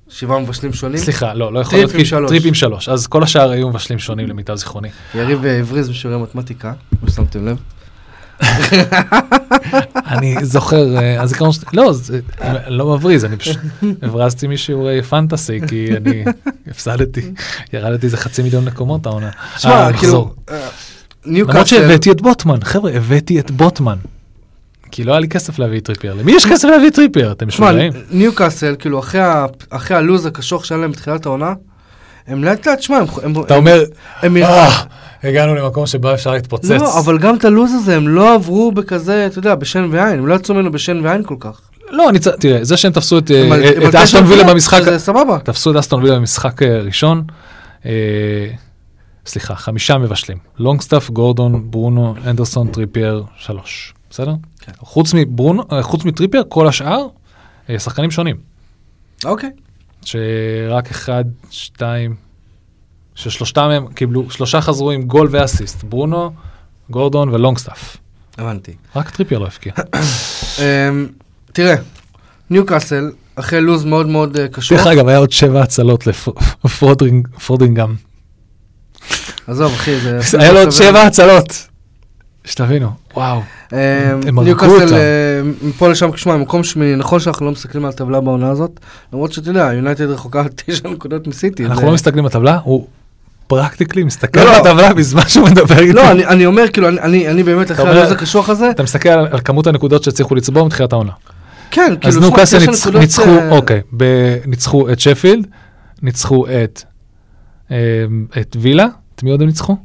S1: שבעה מבשלים שונים.
S2: סליחה, לא, לא יכול
S1: טריפ
S2: להיות,
S1: עם
S2: כי-
S1: שלוש.
S2: טריפ עם שלוש. אז כל השאר היו מבשלים שונים למיטב זיכרוני.
S1: יריב אה, הבריז בשיעורי מתמטיקה, כמו ששמתם לב.
S2: אני זוכר, אה, הזיכרון שלי, לא, זה- אני לא מבריז, אני פשוט הברזתי משיעורי פנטסי, כי אני הפסדתי, ירדתי איזה חצי מיליון מקומות העונה.
S1: שמע,
S2: אה,
S1: כאילו,
S2: המחזור.
S1: אה,
S2: למרות
S1: ניוקאסל,
S2: שהבאתי את בוטמן, חבר'ה, הבאתי את בוטמן. כי לא היה לי כסף להביא את טריפייר. למי יש כסף להביא את טריפייר? אתם
S1: שמע,
S2: משוגעים?
S1: ניוקאסל, כאילו, אחרי ה- אחרי הלוז הקשוח שהיה להם בתחילת העונה, הם לאט לאט, שמע, הם- הם-
S2: אתה אומר,
S1: הם... הם-
S2: "אה, הגענו למקום שבו אפשר להתפוצץ.
S1: לא, אבל גם את הלוז הזה הם לא עברו בכזה, אתה יודע, בשן ועין, הם לא יצאו ממנו בשן ועין כל כך.
S2: לא, אני צ- תראה, זה שהם תפסו את
S1: הם על-
S2: אה,
S1: הם
S2: את
S1: על
S2: אסטון
S1: תשע
S2: וילה
S1: נקודות,
S2: במשחק,
S1: שזה סבבה.
S2: תפסו את אסטון וילה במשחק אה, ראשון. אה, סליחה, חמישה מבשלים. לונגסטאף, גורדון, ברונו, אנדרסון, טריפייר, שלוש. בסדר?
S1: כן.
S2: חוץ מברונו, אה, חוץ מטריפייר, כל השאר, אה, שחקנים שונים.
S1: אוקיי.
S2: שרק אחד, שתיים, ששלושתם הם קיבלו, שלושה חזרו עם גול ואסיסט. ברונו, גורדון ולונגסטאף.
S1: הבנתי.
S2: רק טריפייר לא הבקיע.
S1: אמ, תראה, ניוקאסל, אחרי לוז מאוד מאוד אה, קשוח,
S2: דרך אגב, היה עוד שבע הצלות לפרודינגאם.
S1: עזוב אחי, זה...
S2: היה לו עוד שבע הצלות. שתבינו, וואו.
S1: אמ,
S2: הם הרגו אותם.
S1: ניוקאסל, אמ, מפה לשם, שמע, מקום שמיני, נכון שאנחנו לא מסתכלים על הטבלה בעונה הזאת, למרות שאתה יודע, יונייטד רחוקה תשע נקודות מסיטי.
S2: אנחנו
S1: זה-
S2: לא מסתכלים בטבלה, הוא פרקטיקלי מסתכל
S1: לא, לא.
S2: בטבלה בזמן שהוא מדבר איתי.
S1: לא, אני- אני אומר, כאילו, אני- אני אני באמת אחרי
S2: אומר-
S1: הלוז הקשוח הזה,
S2: אתה מסתכל על על כמות הנקודות שהצליחו לצבור מתחילת העונה.
S1: כן, כאילו,
S2: אז
S1: שמע,
S2: נוקאסל
S1: תשע
S2: ניצ-
S1: נקודות,
S2: ניצחו,
S1: אה,
S2: אוקיי, ב- ניצחו את שפילד, ניצחו את אמ, את וילה, את מי עוד הם ניצחו?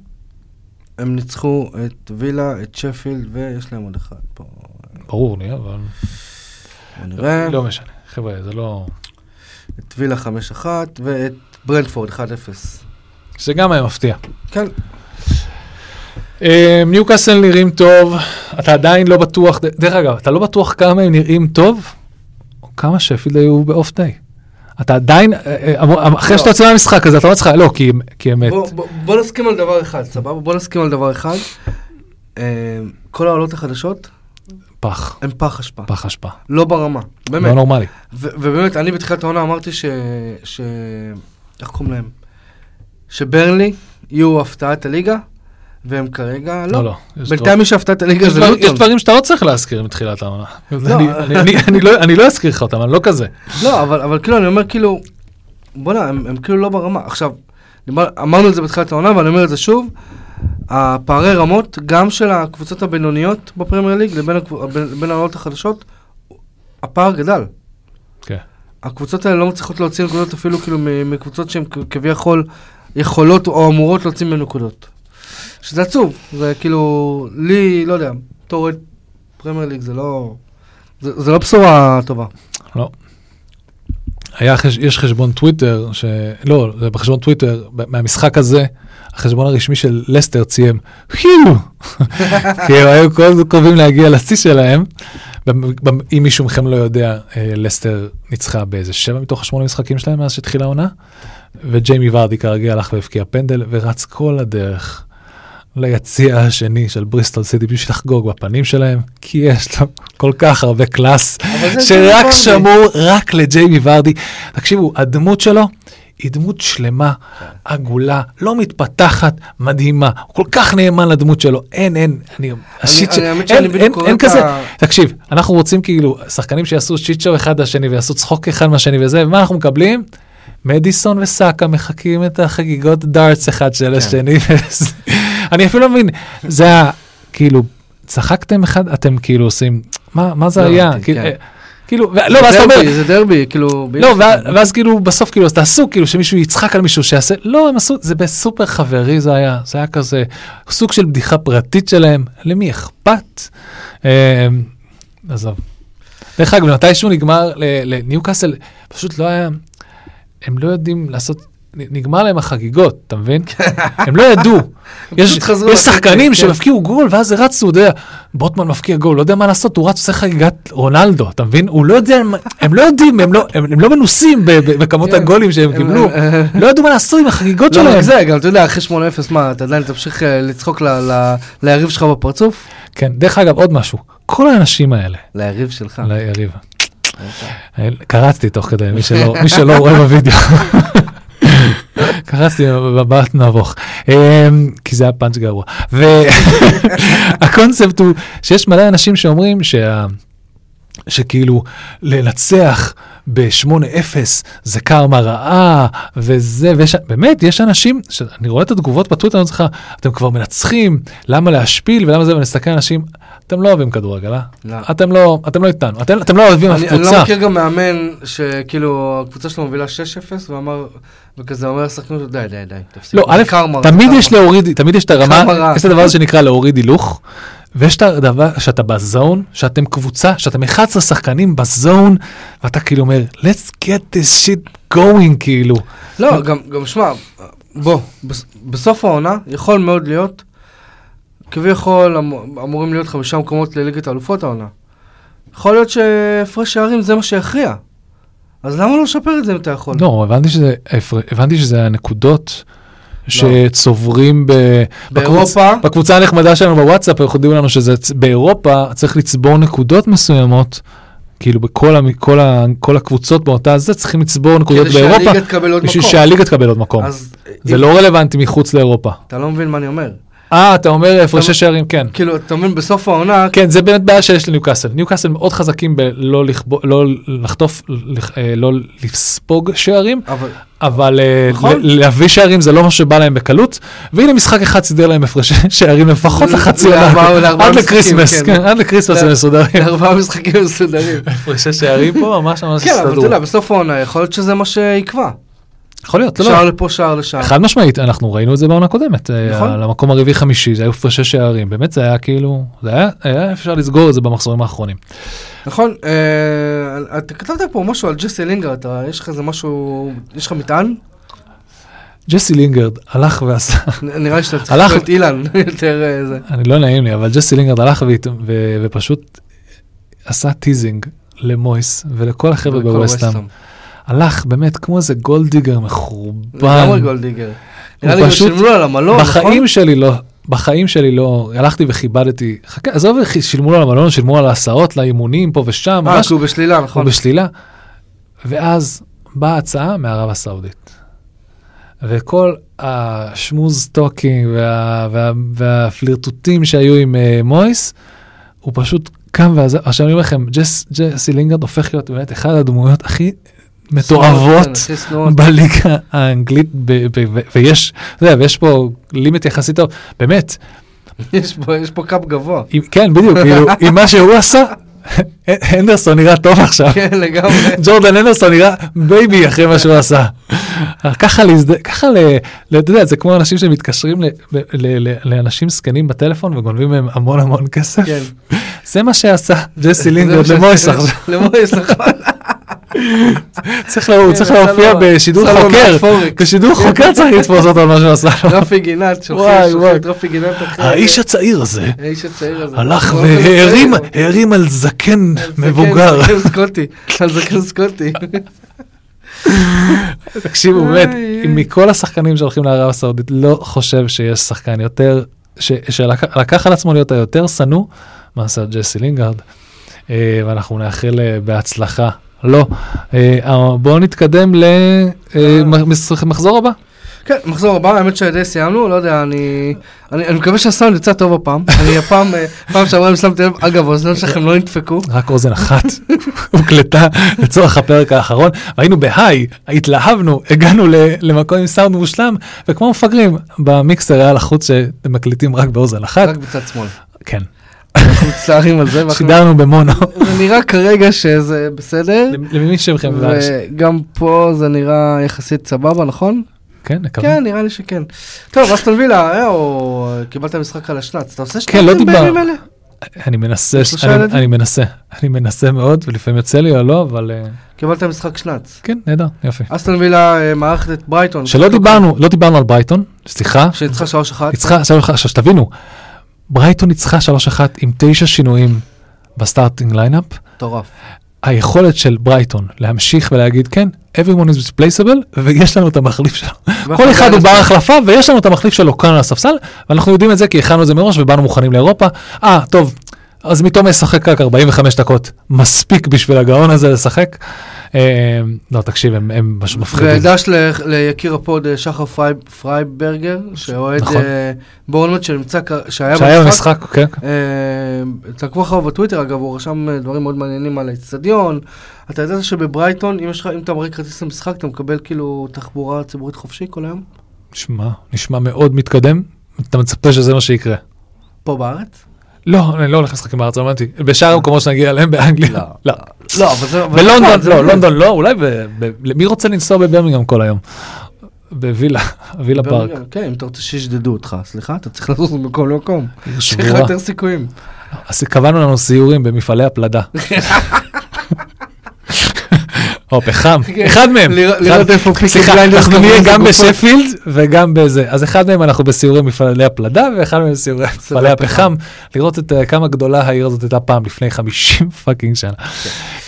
S1: הם ניצחו את וילה, את שפילד, ויש להם עוד אחד פה.
S2: ברור לי, אבל
S1: בוא נראה.
S2: לא משנה. חבר'ה, זה לא...
S1: את וילה 5-1 ואת ברנדפורד 1-0.
S2: זה גם היה מפתיע.
S1: כן,
S2: אה, ניוקאסל נראים טוב, אתה עדיין לא בטוח, ד- דרך אגב, אתה לא בטוח כמה הם נראים טוב, או כמה שפילד היו באוף דיי. אתה עדיין, אה, אה, אמר- אחרי
S1: לא.
S2: שאתה יוצא מהמשחק הזה, אתה אומר לעצמך, לא, כי הם- כי הם...
S1: בוא- בוא- בוא נסכים על דבר אחד, סבבה? בוא נסכים על דבר אחד. אה, כל העולות החדשות
S2: פח,
S1: הן פח אשפה,
S2: פח אשפה.
S1: לא ברמה,
S2: לא
S1: באמת.
S2: נורמלי.
S1: ו- ובאמת, אני בתחילת העונה אמרתי ש... ש... איך קוראים להם? שברנלי יהיו הפתעת הליגה, והם כרגע
S2: לא,
S1: לא.
S2: לא. יש
S1: בינתיים מי שהפתעה את הליגה
S2: יש
S1: זה
S2: דבר- יש
S1: לוטון.
S2: דברים שאתה לא צריך להזכיר מתחילת העונה. אני-
S1: אה.
S2: אני- אני- אני לא- אני לא אזכיר לך אותם, אני לא כזה.
S1: לא, אבל, אבל כאילו, אני אומר כאילו, בוא'נה, הם, הם כאילו לא ברמה. עכשיו, דיבר, אמרנו את זה בתחילת העונה, ואני אומר את זה שוב, הפערי רמות, גם של הקבוצות הבינוניות בפרמייר ליג לבין הקב- בין- בין העולות החדשות, הפער גדל.
S2: כן.
S1: הקבוצות האלה לא מצליחות להוציא נקודות אפילו כאילו מ- מקבוצות שהן כ- כביכול יכולות או אמורות להוציא מהן נקודות. שזה עצוב, זה כאילו, לי, לא יודע, בתור אוהד פרמייר ליג זה לא, זה, זה לא בשורה טובה.
S2: היה, חש- יש חשבון טוויטר, ש... לא, זה בחשבון טוויטר, ב- מהמשחק הזה, החשבון הרשמי של לסטר ציים, חיו! כי הם היו כל הזמן קרובים להגיע לשיא שלהם. במ- במ- אם מישהו מכם לא יודע, אה, לסטר ניצחה באיזה שבע מתוך השמונה משחקים שלהם מאז שהתחילה העונה, וג'יימי ורדי כרגיל הלך והבקיע פנדל, ורץ כל הדרך ליציע השני של בריסטול סיטי בשביל לחגוג בפנים שלהם, כי יש לו כל כך הרבה קלאס.
S1: אבל זה
S2: שרק
S1: ג'יימי ורדי.
S2: שמור רק לג'יימי ורדי. תקשיבו, הדמות שלו היא דמות שלמה, עגולה, לא מתפתחת, מדהימה. הוא כל כך נאמן לדמות שלו. אין, אין, אני... השיט ש-
S1: אני- האמת שאני
S2: אין,
S1: בדיוק
S2: אין,
S1: קורא
S2: אין
S1: את
S2: כזה.
S1: ה-
S2: תקשיב, אנחנו רוצים כאילו שחקנים שיעשו צ'יצ'ו אחד לשני ויעשו צחוק אחד מהשני וזה, ומה אנחנו מקבלים? מדיסון וסאקה מחקים את החגיגות דארטס אחד
S1: כן.
S2: של השני. וזה- אני אפילו לא מבין, זה היה כאילו, צחקתם אחד, אתם כאילו עושים, מה מה זה
S1: לא
S2: היה?
S1: הבנתי,
S2: כאילו,
S1: כן.
S2: אה, כאילו, ו- לא, ואז אתה אומר,
S1: דרבי, זה דרבי, כאילו...
S2: לא,
S1: ביחד.
S2: ואז- ואז כאילו, בסוף כאילו, אז תעשו כאילו שמישהו יצחק על מישהו שיעשה, לא, הם עשו, זה בסופר חברי זה היה, זה היה כזה סוג של בדיחה פרטית שלהם, למי אכפת? אה, עזוב. דרך אגב, מתישהו נגמר ל- לניוקאסל, פשוט לא היה, הם לא יודעים לעשות, נ- נגמר להם החגיגות, אתה מבין? הם לא ידעו. יש,
S1: כן. פשוט חזרו
S2: יש
S1: לשחק,
S2: שחקנים
S1: כן.
S2: שהבקיעו גול, ואז רצו, אתה יודע, בוטמן מבקיע גול, לא יודע מה לעשות, הוא רץ עושה חגיגת רונלדו, אתה מבין? הוא לא יודע, מה- הם לא יודעים, הם לא, הם, הם לא מנוסים ב- ב- בכמות
S1: כן.
S2: הגולים שהם
S1: הם-
S2: קיבלו,
S1: הם-
S2: לא ידעו מה לעשות עם החגיגות
S1: לא,
S2: שלהם.
S1: רק זה, גם אתה יודע, אחרי 8-0, מה, אתה עדיין תמשיך אה, לצחוק ל- ל- ליריב שלך בפרצוף?
S2: כן, דרך אגב, עוד משהו, כל האנשים האלה,
S1: אה. ליריב שלך.
S2: ליריב,
S1: לא.
S2: קרצתי תוך כדי, מי שלא- מי שלא רואה בווידאו. קרצתי בבת נבוך, אמ, כי זה היה פאנץ' גרוע. והקונספט הוא שיש מלא אנשים שאומרים שה... שכאילו לנצח ב-8-0 זה קרמה רעה וזה, ויש, באמת, יש אנשים, ש- אני רואה את התגובות בטוויטר, אני אומר לך, אתם כבר מנצחים, למה להשפיל ולמה זה, ואני מסתכל על אנשים, אתם לא אוהבים כדורגל, אה?
S1: לא.
S2: אתם לא, אתם לא איתנו, אתם, אתם לא אוהבים אף
S1: אני, אני
S2: קבוצה.
S1: לא מכיר גם מאמן שכאילו הקבוצה שלו מובילה 6-0 ואמר, וכזה אומר לשחקנים שלו, די, די, די, תפסיק.
S2: לא,
S1: זה
S2: א',
S1: קרמה,
S2: תמיד
S1: קרמה.
S2: יש להוריד, תמיד יש את
S1: כמה רע.
S2: הרמה, יש את הדבר הזה שנקרא להוריד הילוך, ויש את הדבר שאתה בזון, שאתם קבוצה, שאתם 11 שחקנים בזון, ואתה כאילו אומר, let's get this shit going, כאילו.
S1: לא, גם, גם שמע, בוא, בס- בסוף העונה יכול מאוד להיות, כביכול אמ- אמורים להיות חמישה מקומות לליגת האלופות העונה. יכול להיות שהפרש שערים זה מה שיכריע. אז למה לא לשפר את זה אם אתה יכול?
S2: לא, הבנתי שזה, הבנתי שזה הנקודות שצוברים ב... בקבוצ-
S1: לא. באירופה,
S2: בקבוצה הנחמדה שלנו בוואטסאפ, אנחנו יודעים לנו שזה צ- באירופה צריך לצבור נקודות מסוימות. כאילו בכל המ- כל ה- כל הקבוצות באותה זה צריכים לצבור נקודות
S1: כדי
S2: באירופה,
S1: שהליגה תקבל עוד
S2: בשביל
S1: מקום.
S2: שהליגה תקבל עוד מקום.
S1: אז
S2: זה
S1: אם-
S2: לא רלוונטי מחוץ לאירופה.
S1: אתה לא מבין מה אני אומר.
S2: אה, אתה אומר
S1: אתה-
S2: הפרשי שערים, כן.
S1: כאילו, אתה מבין, בסוף העונה,
S2: כן, זה באמת בעיה שיש לניוקאסל. ניוקאסל מאוד חזקים בלא לכבו- לא לחטוף, לח- אה, לא לספוג שערים,
S1: אבל
S2: אבל אה,
S1: נכון.
S2: ל- להביא שערים זה לא משהו שבא להם בקלות, והנה משחק אחד סידר להם הפרשי שערים לפחות
S1: ל-
S2: לחצי
S1: לארבעה-
S2: עונה,
S1: לארבעה
S2: עד
S1: משחקים,
S2: לקריסמס,
S1: כן.
S2: כן, עד לקריסמס הם
S1: ל-
S2: מסודרים.
S1: ארבעה משחקים מסודרים.
S2: הפרשי שערים פה ממש ממש
S1: כן, אבל כן, אתה
S2: הסתדרו.
S1: יודע, בסוף העונה יכול להיות שזה מה שיקבע.
S2: יכול להיות, לא, לא.
S1: שער לפה, שער לשם.
S2: חד משמעית, אנחנו ראינו את זה בעונה הקודמת.
S1: נכון.
S2: נכון. למקום הרביעי חמישי, זה היו הפרשי שערים, באמת זה היה כאילו, זה היה, היה אפשר לסגור את זה במחזורים האחרונים.
S1: נכון, אה, אתה כתבת פה משהו על ג'סי לינגר, אתה, יש לך איזה משהו, יש לך מטען?
S2: ג'סי לינגרד הלך ועשה,
S1: נ- נראה לי שאתה צריך
S2: הלך-
S1: לשאול את אילן יותר אה, זה.
S2: אני לא נעים לי, אבל ג'סי לינגרד הלך והת- ו- ופשוט עשה טיזינג למויס ולכל החבר'ה
S1: בכל
S2: בווסטהאם.
S1: ווסטהאם.
S2: הלך באמת כמו איזה גולדיגר
S1: לגמרי
S2: מחורבן.
S1: גולדיגר. נראה לי
S2: הוא
S1: גם
S2: פשוט-
S1: שילמו לו על המלון, נכון?
S2: בחיים שלי לא, בחיים שלי לא, הלכתי וכיבדתי, חכה, עזוב, שילמו לו על המלון, שילמו על ההסעות, לאימונים פה ושם,
S1: אה,
S2: ממש
S1: כי הוא בשלילה, נכון.
S2: הוא בשלילה. ואז באה הצעה מערב הסעודית. וכל השמוז טוקינג וה, וה, והפלירטוטים שהיו עם uh, מויס, הוא פשוט קם ועזב. עכשיו אני אומר לכם, ג'ס, ג'סי לינגרד הופך להיות באמת אחת הדמויות הכי
S1: כן,
S2: מתועבות
S1: הכי שנואות.
S2: בליגה האנגלית, ב, ב, ב, ויש, אתה יודע, ויש פה לימיט יחסית טוב, באמת,
S1: יש פה- יש פה קאפ גבוה.
S2: אם, כן, בדיוק, כאילו, עם מה שהוא עשה, הנדרסון נראה טוב עכשיו.
S1: כן, לגמרי.
S2: ג'ורדן אנדרסון נראה בייבי אחרי מה שהוא עשה. ככה להזד... ככה ל... ל- אתה יודע, זה כמו אנשים שמתקשרים ל... ל... ל... ל- לאנשים זקנים בטלפון וגונבים מהם המון המון כסף.
S1: כן.
S2: זה מה שעשה ג'סי לינגרד
S1: זה מה
S2: למויס
S1: שעשיתי.
S2: עכשיו.
S1: למויס, נכון.
S2: צריך לה- הוא צריך
S1: עשה לו-
S2: להופיע בשידור
S1: עשה לו
S2: חוקר.
S1: מטאפוריקס. לא,
S2: בשידור חוקר צריך לתפוס אותו על מה שהוא עשה לו.
S1: רפי גינת,
S2: וואי,
S1: שולחים
S2: וואי.
S1: את רפי גינת אחרי...
S2: האיש הצעיר הזה
S1: האיש הצעיר הזה.
S2: הלך
S1: הוא הולך
S2: והערים
S1: לצעיר.
S2: הערים על זקן
S1: לא, זקן,
S2: מבוגר.
S1: זקן כן, סקוטי, על זקן סקוטי.
S2: תקשיבו, באמת,
S1: איי, איי.
S2: מכל השחקנים שהולכים לערב הסעודית, לא חושב שיש שחקן יותר, ש- שלקח על עצמו להיות היותר שנוא, מאשר ג'סי לינגרד. אה, ואנחנו נאחל אה, בהצלחה. לא, אה, אה, בואו נתקדם אה,
S1: אה.
S2: למחזור הבא.
S1: כן, מחזור הבא, האמת שדי סיימנו, לא יודע, אני... אני אני מקווה שהסאונד יצא טוב הפעם. אני הפעם, אה, פעם שעברה אם שמתי לב, אגב, האוזניות שלכם לא נדפקו.
S2: רק אוזן אחת הוקלטה לצורך הפרק האחרון, והיינו בהיי, התלהבנו, הגענו ל- למקום עם סאונד מושלם, וכמו מפגרים, במיקסר היה לחוץ שמקליטים רק באוזן אחת.
S1: רק בצד שמאל.
S2: כן,
S1: אנחנו מצטערים על זה. ואנחנו-
S2: שידרנו במונו.
S1: זה נראה כרגע שזה בסדר.
S2: למי שמכם ואש.
S1: וגם פה זה נראה יחסית סבבה, נכון?
S2: כן, נקווה.
S1: כן, נראה לי שכן. טוב, אסטון וילה, אה, או קיבלת משחק על השנץ. אתה עושה
S2: לא
S1: שנצים
S2: דיבר-
S1: בימים אלה?
S2: אני מנסה, ש-
S1: שלושה
S2: אני-
S1: ילדים?
S2: אני מנסה, אני מנסה מאוד, ולפעמים יוצא לי או לא, אבל אה,
S1: קיבלת משחק שנץ.
S2: כן, נהדר, יופי.
S1: אסטון וילה אה, מארחת את ברייטון.
S2: שלא דיברנו, לא דיברנו על ברייטון, סליחה,
S1: שניצחה 3-1.
S2: ניצחה, שלוש אחת, עכשיו שתבינו, ברייטון ניצחה 3-1 עם תשע שינויים בסטארטינג ליינאפ.
S1: מטורף.
S2: היכולת של ברייטון להמשיך ולהגיד כן, everyone is displaceable, ויש לנו את המחליף שלו. כל אחד הוא בר החלפה ויש לנו את המחליף שלו כאן על הספסל ואנחנו יודעים את זה כי הכנו את זה מראש ובאנו מוכנים לאירופה. אה טוב אז פתאום ישחק רק 45 דקות. מספיק בשביל הגאון הזה לשחק. אה, לא, תקשיב, הם- הם פשוט מפחידים.
S1: ודש ל- ליקיר הפוד אה, שחר פרי- פרייברגר, שאוהד
S2: נכון.
S1: אה, בורנמוט שנמצא, כ-
S2: שהיה במשחק, כן.
S1: אה, תעקבו אחריו בטוויטר אגב, הוא רשם אה, דברים מאוד מעניינים על האצטדיון. אתה ידעת שבברייטון, אם, יש לך, אם אתה מראה כרטיס למשחק, אתה מקבל כאילו תחבורה ציבורית חופשי כל היום?
S2: נשמע, נשמע מאוד מתקדם. אתה מצפה שזה מה שיקרה.
S1: פה בארץ?
S2: לא, אני לא הולך לשחקים בארץ, לא הבנתי. בשאר המקומות שנגיע אליהם באנגליה.
S1: לא.
S2: לא.
S1: לא, אבל זה... אבל זה
S2: בלונדון,
S1: פה, זה-
S2: לא, לונדון לא, אולי ב... ב- מי רוצה לנסוע בברמינגהם כל היום? בווילה, וילה פארק.
S1: בברמינגהאם, כן, אם אתה רוצה שישדדו אותך, סליחה, אתה צריך לזוז ממקום למקום.
S2: עיר
S1: יש לך
S2: שבורה.
S1: יותר סיכויים.
S2: אז קבענו לנו סיורים במפעלי הפלדה. או פחם,
S1: כן.
S2: אחד מהם.
S1: לראות-
S2: אחד-
S1: לראות איפה פיקי
S2: סליחה,
S1: בליינדרס
S2: אנחנו
S1: קבעו
S2: נהיה
S1: איזה
S2: גם
S1: גופות.
S2: בשפילד וגם בזה. אז אחד מהם אנחנו בסיורי מפעלי הפלדה ואחד מהם בסיורי מפעלי הפחם. לראות את אה, כמה גדולה העיר הזאת הייתה פעם לפני 50 פאקינג שנה.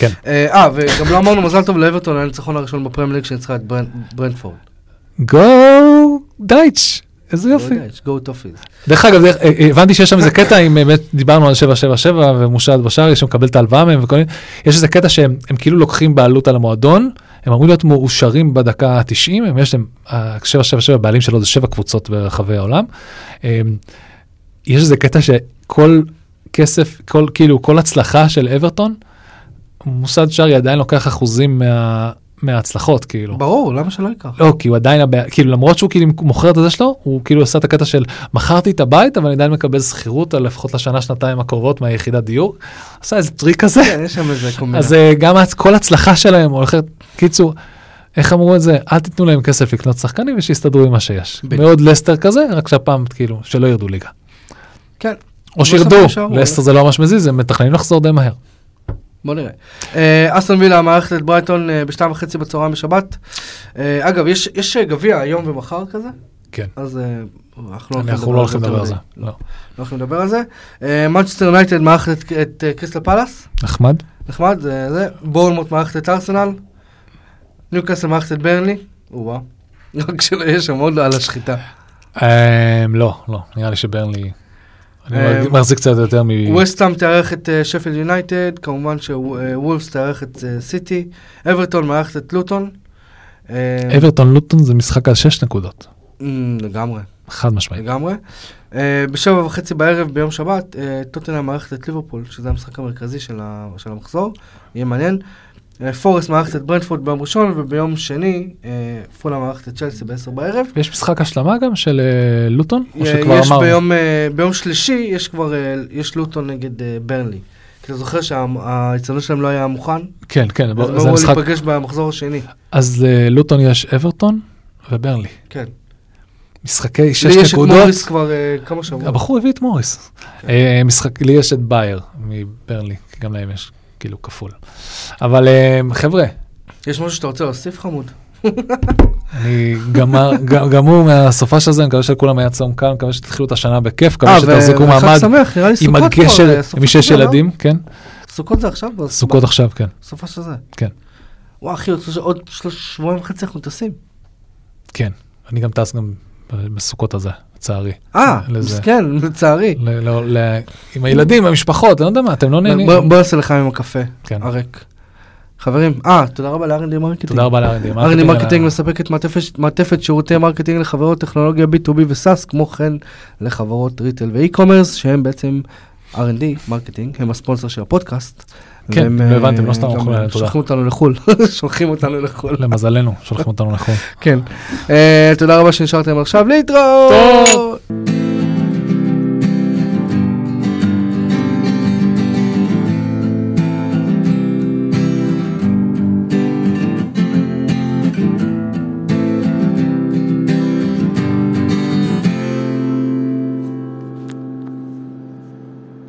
S1: אה, אה, וגם לא אמרנו מזל טוב לאברטון על הניצחון הראשון בפרמייר ליג שניצחה את ברנ- ברנדפורד.
S2: גו דייטש, איזה יופי.
S1: גו טופיז.
S2: דרך אגב, דרך- אה, אה, הבנתי שיש שם איזה קטע, אם באמת דיברנו על 777 ומושל בשארי שמקבל את ההלוואה מהם וכל מיני, יש איזה קטע שהם הם כאילו לוקחים בעלות על המועדון, הם אמורים להיות מאושרים בדקה ה-90, הם יש להם, ה- 777 הבעלים שלו זה שבע קבוצות ברחבי העולם. אה, יש איזה קטע שכל כסף, כל כאילו, כל הצלחה של אברטון, מוסד שרי עדיין לוקח אחוזים מה, מההצלחות, כאילו.
S1: ברור, למה שלא ייקח?
S2: לא, כי הוא עדיין, הבע... כאילו למרות שהוא כאילו מוכר את הזה שלו, הוא כאילו עשה את הקטע של מכרתי את הבית, אבל אני עדיין מקבל שכירות על לפחות לשנה, שנתיים הקרובות מהיחידת דיור. עשה איזה טריק כזה.
S1: כן, יש שם איזה קומבינה.
S2: אז אה, גם הצ- כל הצלחה שלהם הולכת, קיצור, איך אמרו את זה? אל תיתנו להם כסף לקנות שחקנים ושיסתדרו עם מה שיש.
S1: בדיוק.
S2: מאוד לסטר כזה, רק שהפעם כאילו, שלא ירדו ליגה.
S1: כן.
S2: או שירדו,
S1: בסוף נשארו,
S2: לסטר זה לא ממש מזיז, הם מתכננים לחזור די מהר.
S1: בוא נראה. אה, אסטון וילה מארחת את ברייטון אה, בשתיים וחצי בצהריים בשבת. אה, אגב, יש- יש אה, גביע היום ומחר כזה,
S2: כן.
S1: אז אה, אנחנו
S2: אנחנו לא הולכים לדבר על זה.
S1: לא
S2: לא.
S1: הולכים לדבר על זה. אה, מנצ'סטר יונייטד מארחת את- את אה, קריסטל פלאס,
S2: נחמד.
S1: נחמד, זה זה. בורנמוט מארחת את ארסנל. ניוקאסל מארחת את ברנלי. או-אה. רק שלא יהיה שם עוד על השחיטה.
S2: אה, לא, לא, נראה לי שברנלי... אני
S1: אה,
S2: מחזיק קצת יותר מ...
S1: ווסטהאם תארח את אה, שפילד יונייטד, כמובן שוולפס תארח את אה, סיטי, אברטון מארחת את לוטון. אה,
S2: אברטון לוטון זה משחק על 6 נקודות,
S1: אמ, לגמרי,
S2: חד משמעית.
S1: לגמרי. אה, בשבע וחצי בערב ביום שבת, אה, טוטנה מארחת את ליברפול, שזה המשחק המרכזי של ה- של המחזור, יהיה מעניין. אה, פורסט מארחת את ברנדפורד ביום ראשון, וביום שני אה, פולה מארחת את צ'לסי בעשר בערב.
S2: יש משחק השלמה גם של אה, לוטון? או שכבר
S1: יש
S2: אמרנו?
S1: ביום, אה, ביום שלישי, יש כבר, אה, יש לוטון נגד אה, ברנלי. כי אתה זוכר שההצטיינות שלהם לא היה מוכן?
S2: כן, כן, בוא,
S1: אז
S2: זה
S1: אמרו
S2: המשחק.
S1: להיפגש במחזור השני.
S2: אז אה, לוטון יש אברטון וברנלי.
S1: כן.
S2: משחקי 6
S1: לי יש את
S2: נקודות.
S1: מוריס כבר כן. אה, כמה שבועות.
S2: הבחור הביא את מוריס. אה, משחק, לי יש את בייר מברנלי, כי גם להם יש כאילו כפול. אבל אה, חבר'ה,
S1: יש משהו שאתה רוצה להוסיף חמוד?
S2: אני גמר, ג- גמור מהסופה של זה, אני מקווה שלכולם היה צום קל, אני מקווה שתתחילו את השנה בכיף, מקווה
S1: אה,
S2: שתחזיקו
S1: וחג
S2: מעמד
S1: שמח, נראה לי
S2: עם
S1: סוכות כבר,
S2: הגשר,
S1: אה, סופו
S2: למי
S1: של
S2: שיש
S1: זה, לא?
S2: ילדים, כן?
S1: סוכות זה עכשיו? אז
S2: סוכות עכשיו, כן.
S1: סופה של זה.
S2: כן.
S1: וואו אחי, עוד שלוש- עוד שלוש- שבועיים וחצי אנחנו טסים.
S2: כן, אני גם טס גם בסוכות הזה, לצערי.
S1: אה,
S2: לזה.
S1: מסכן, לצערי.
S2: ל- לא- ל- עם הילדים, המשפחות, אני לא יודע מה, אתם לא נהנים.
S1: בוא בוא נעשה לך עם הקפה
S2: כן.
S1: הריק. חברים, אה, תודה רבה לארנדי מרקטינג.
S2: תודה רבה לארנדי.
S1: ארני מרקטינג מספקת מעטפת- מעטפת שירותי מרקטינג לחברות טכנולוגיה B2B וסאס, כמו כן לחברות ריטל ואי-קומרס, שהם בעצם R&D, מרקטינג, הם הספונסר של הפודקאסט.
S2: כן,
S1: והם,
S2: לא הבנתם,
S1: אה,
S2: לא סתם
S1: גם
S2: אוכלים עליהם, תודה. לא.
S1: שולחים אותנו לחו"ל, שולחים אותנו לחו"ל.
S2: למזלנו, שולחים אותנו לחו"ל.
S1: כן. אה, תודה רבה שנשארתם עכשיו להתראות!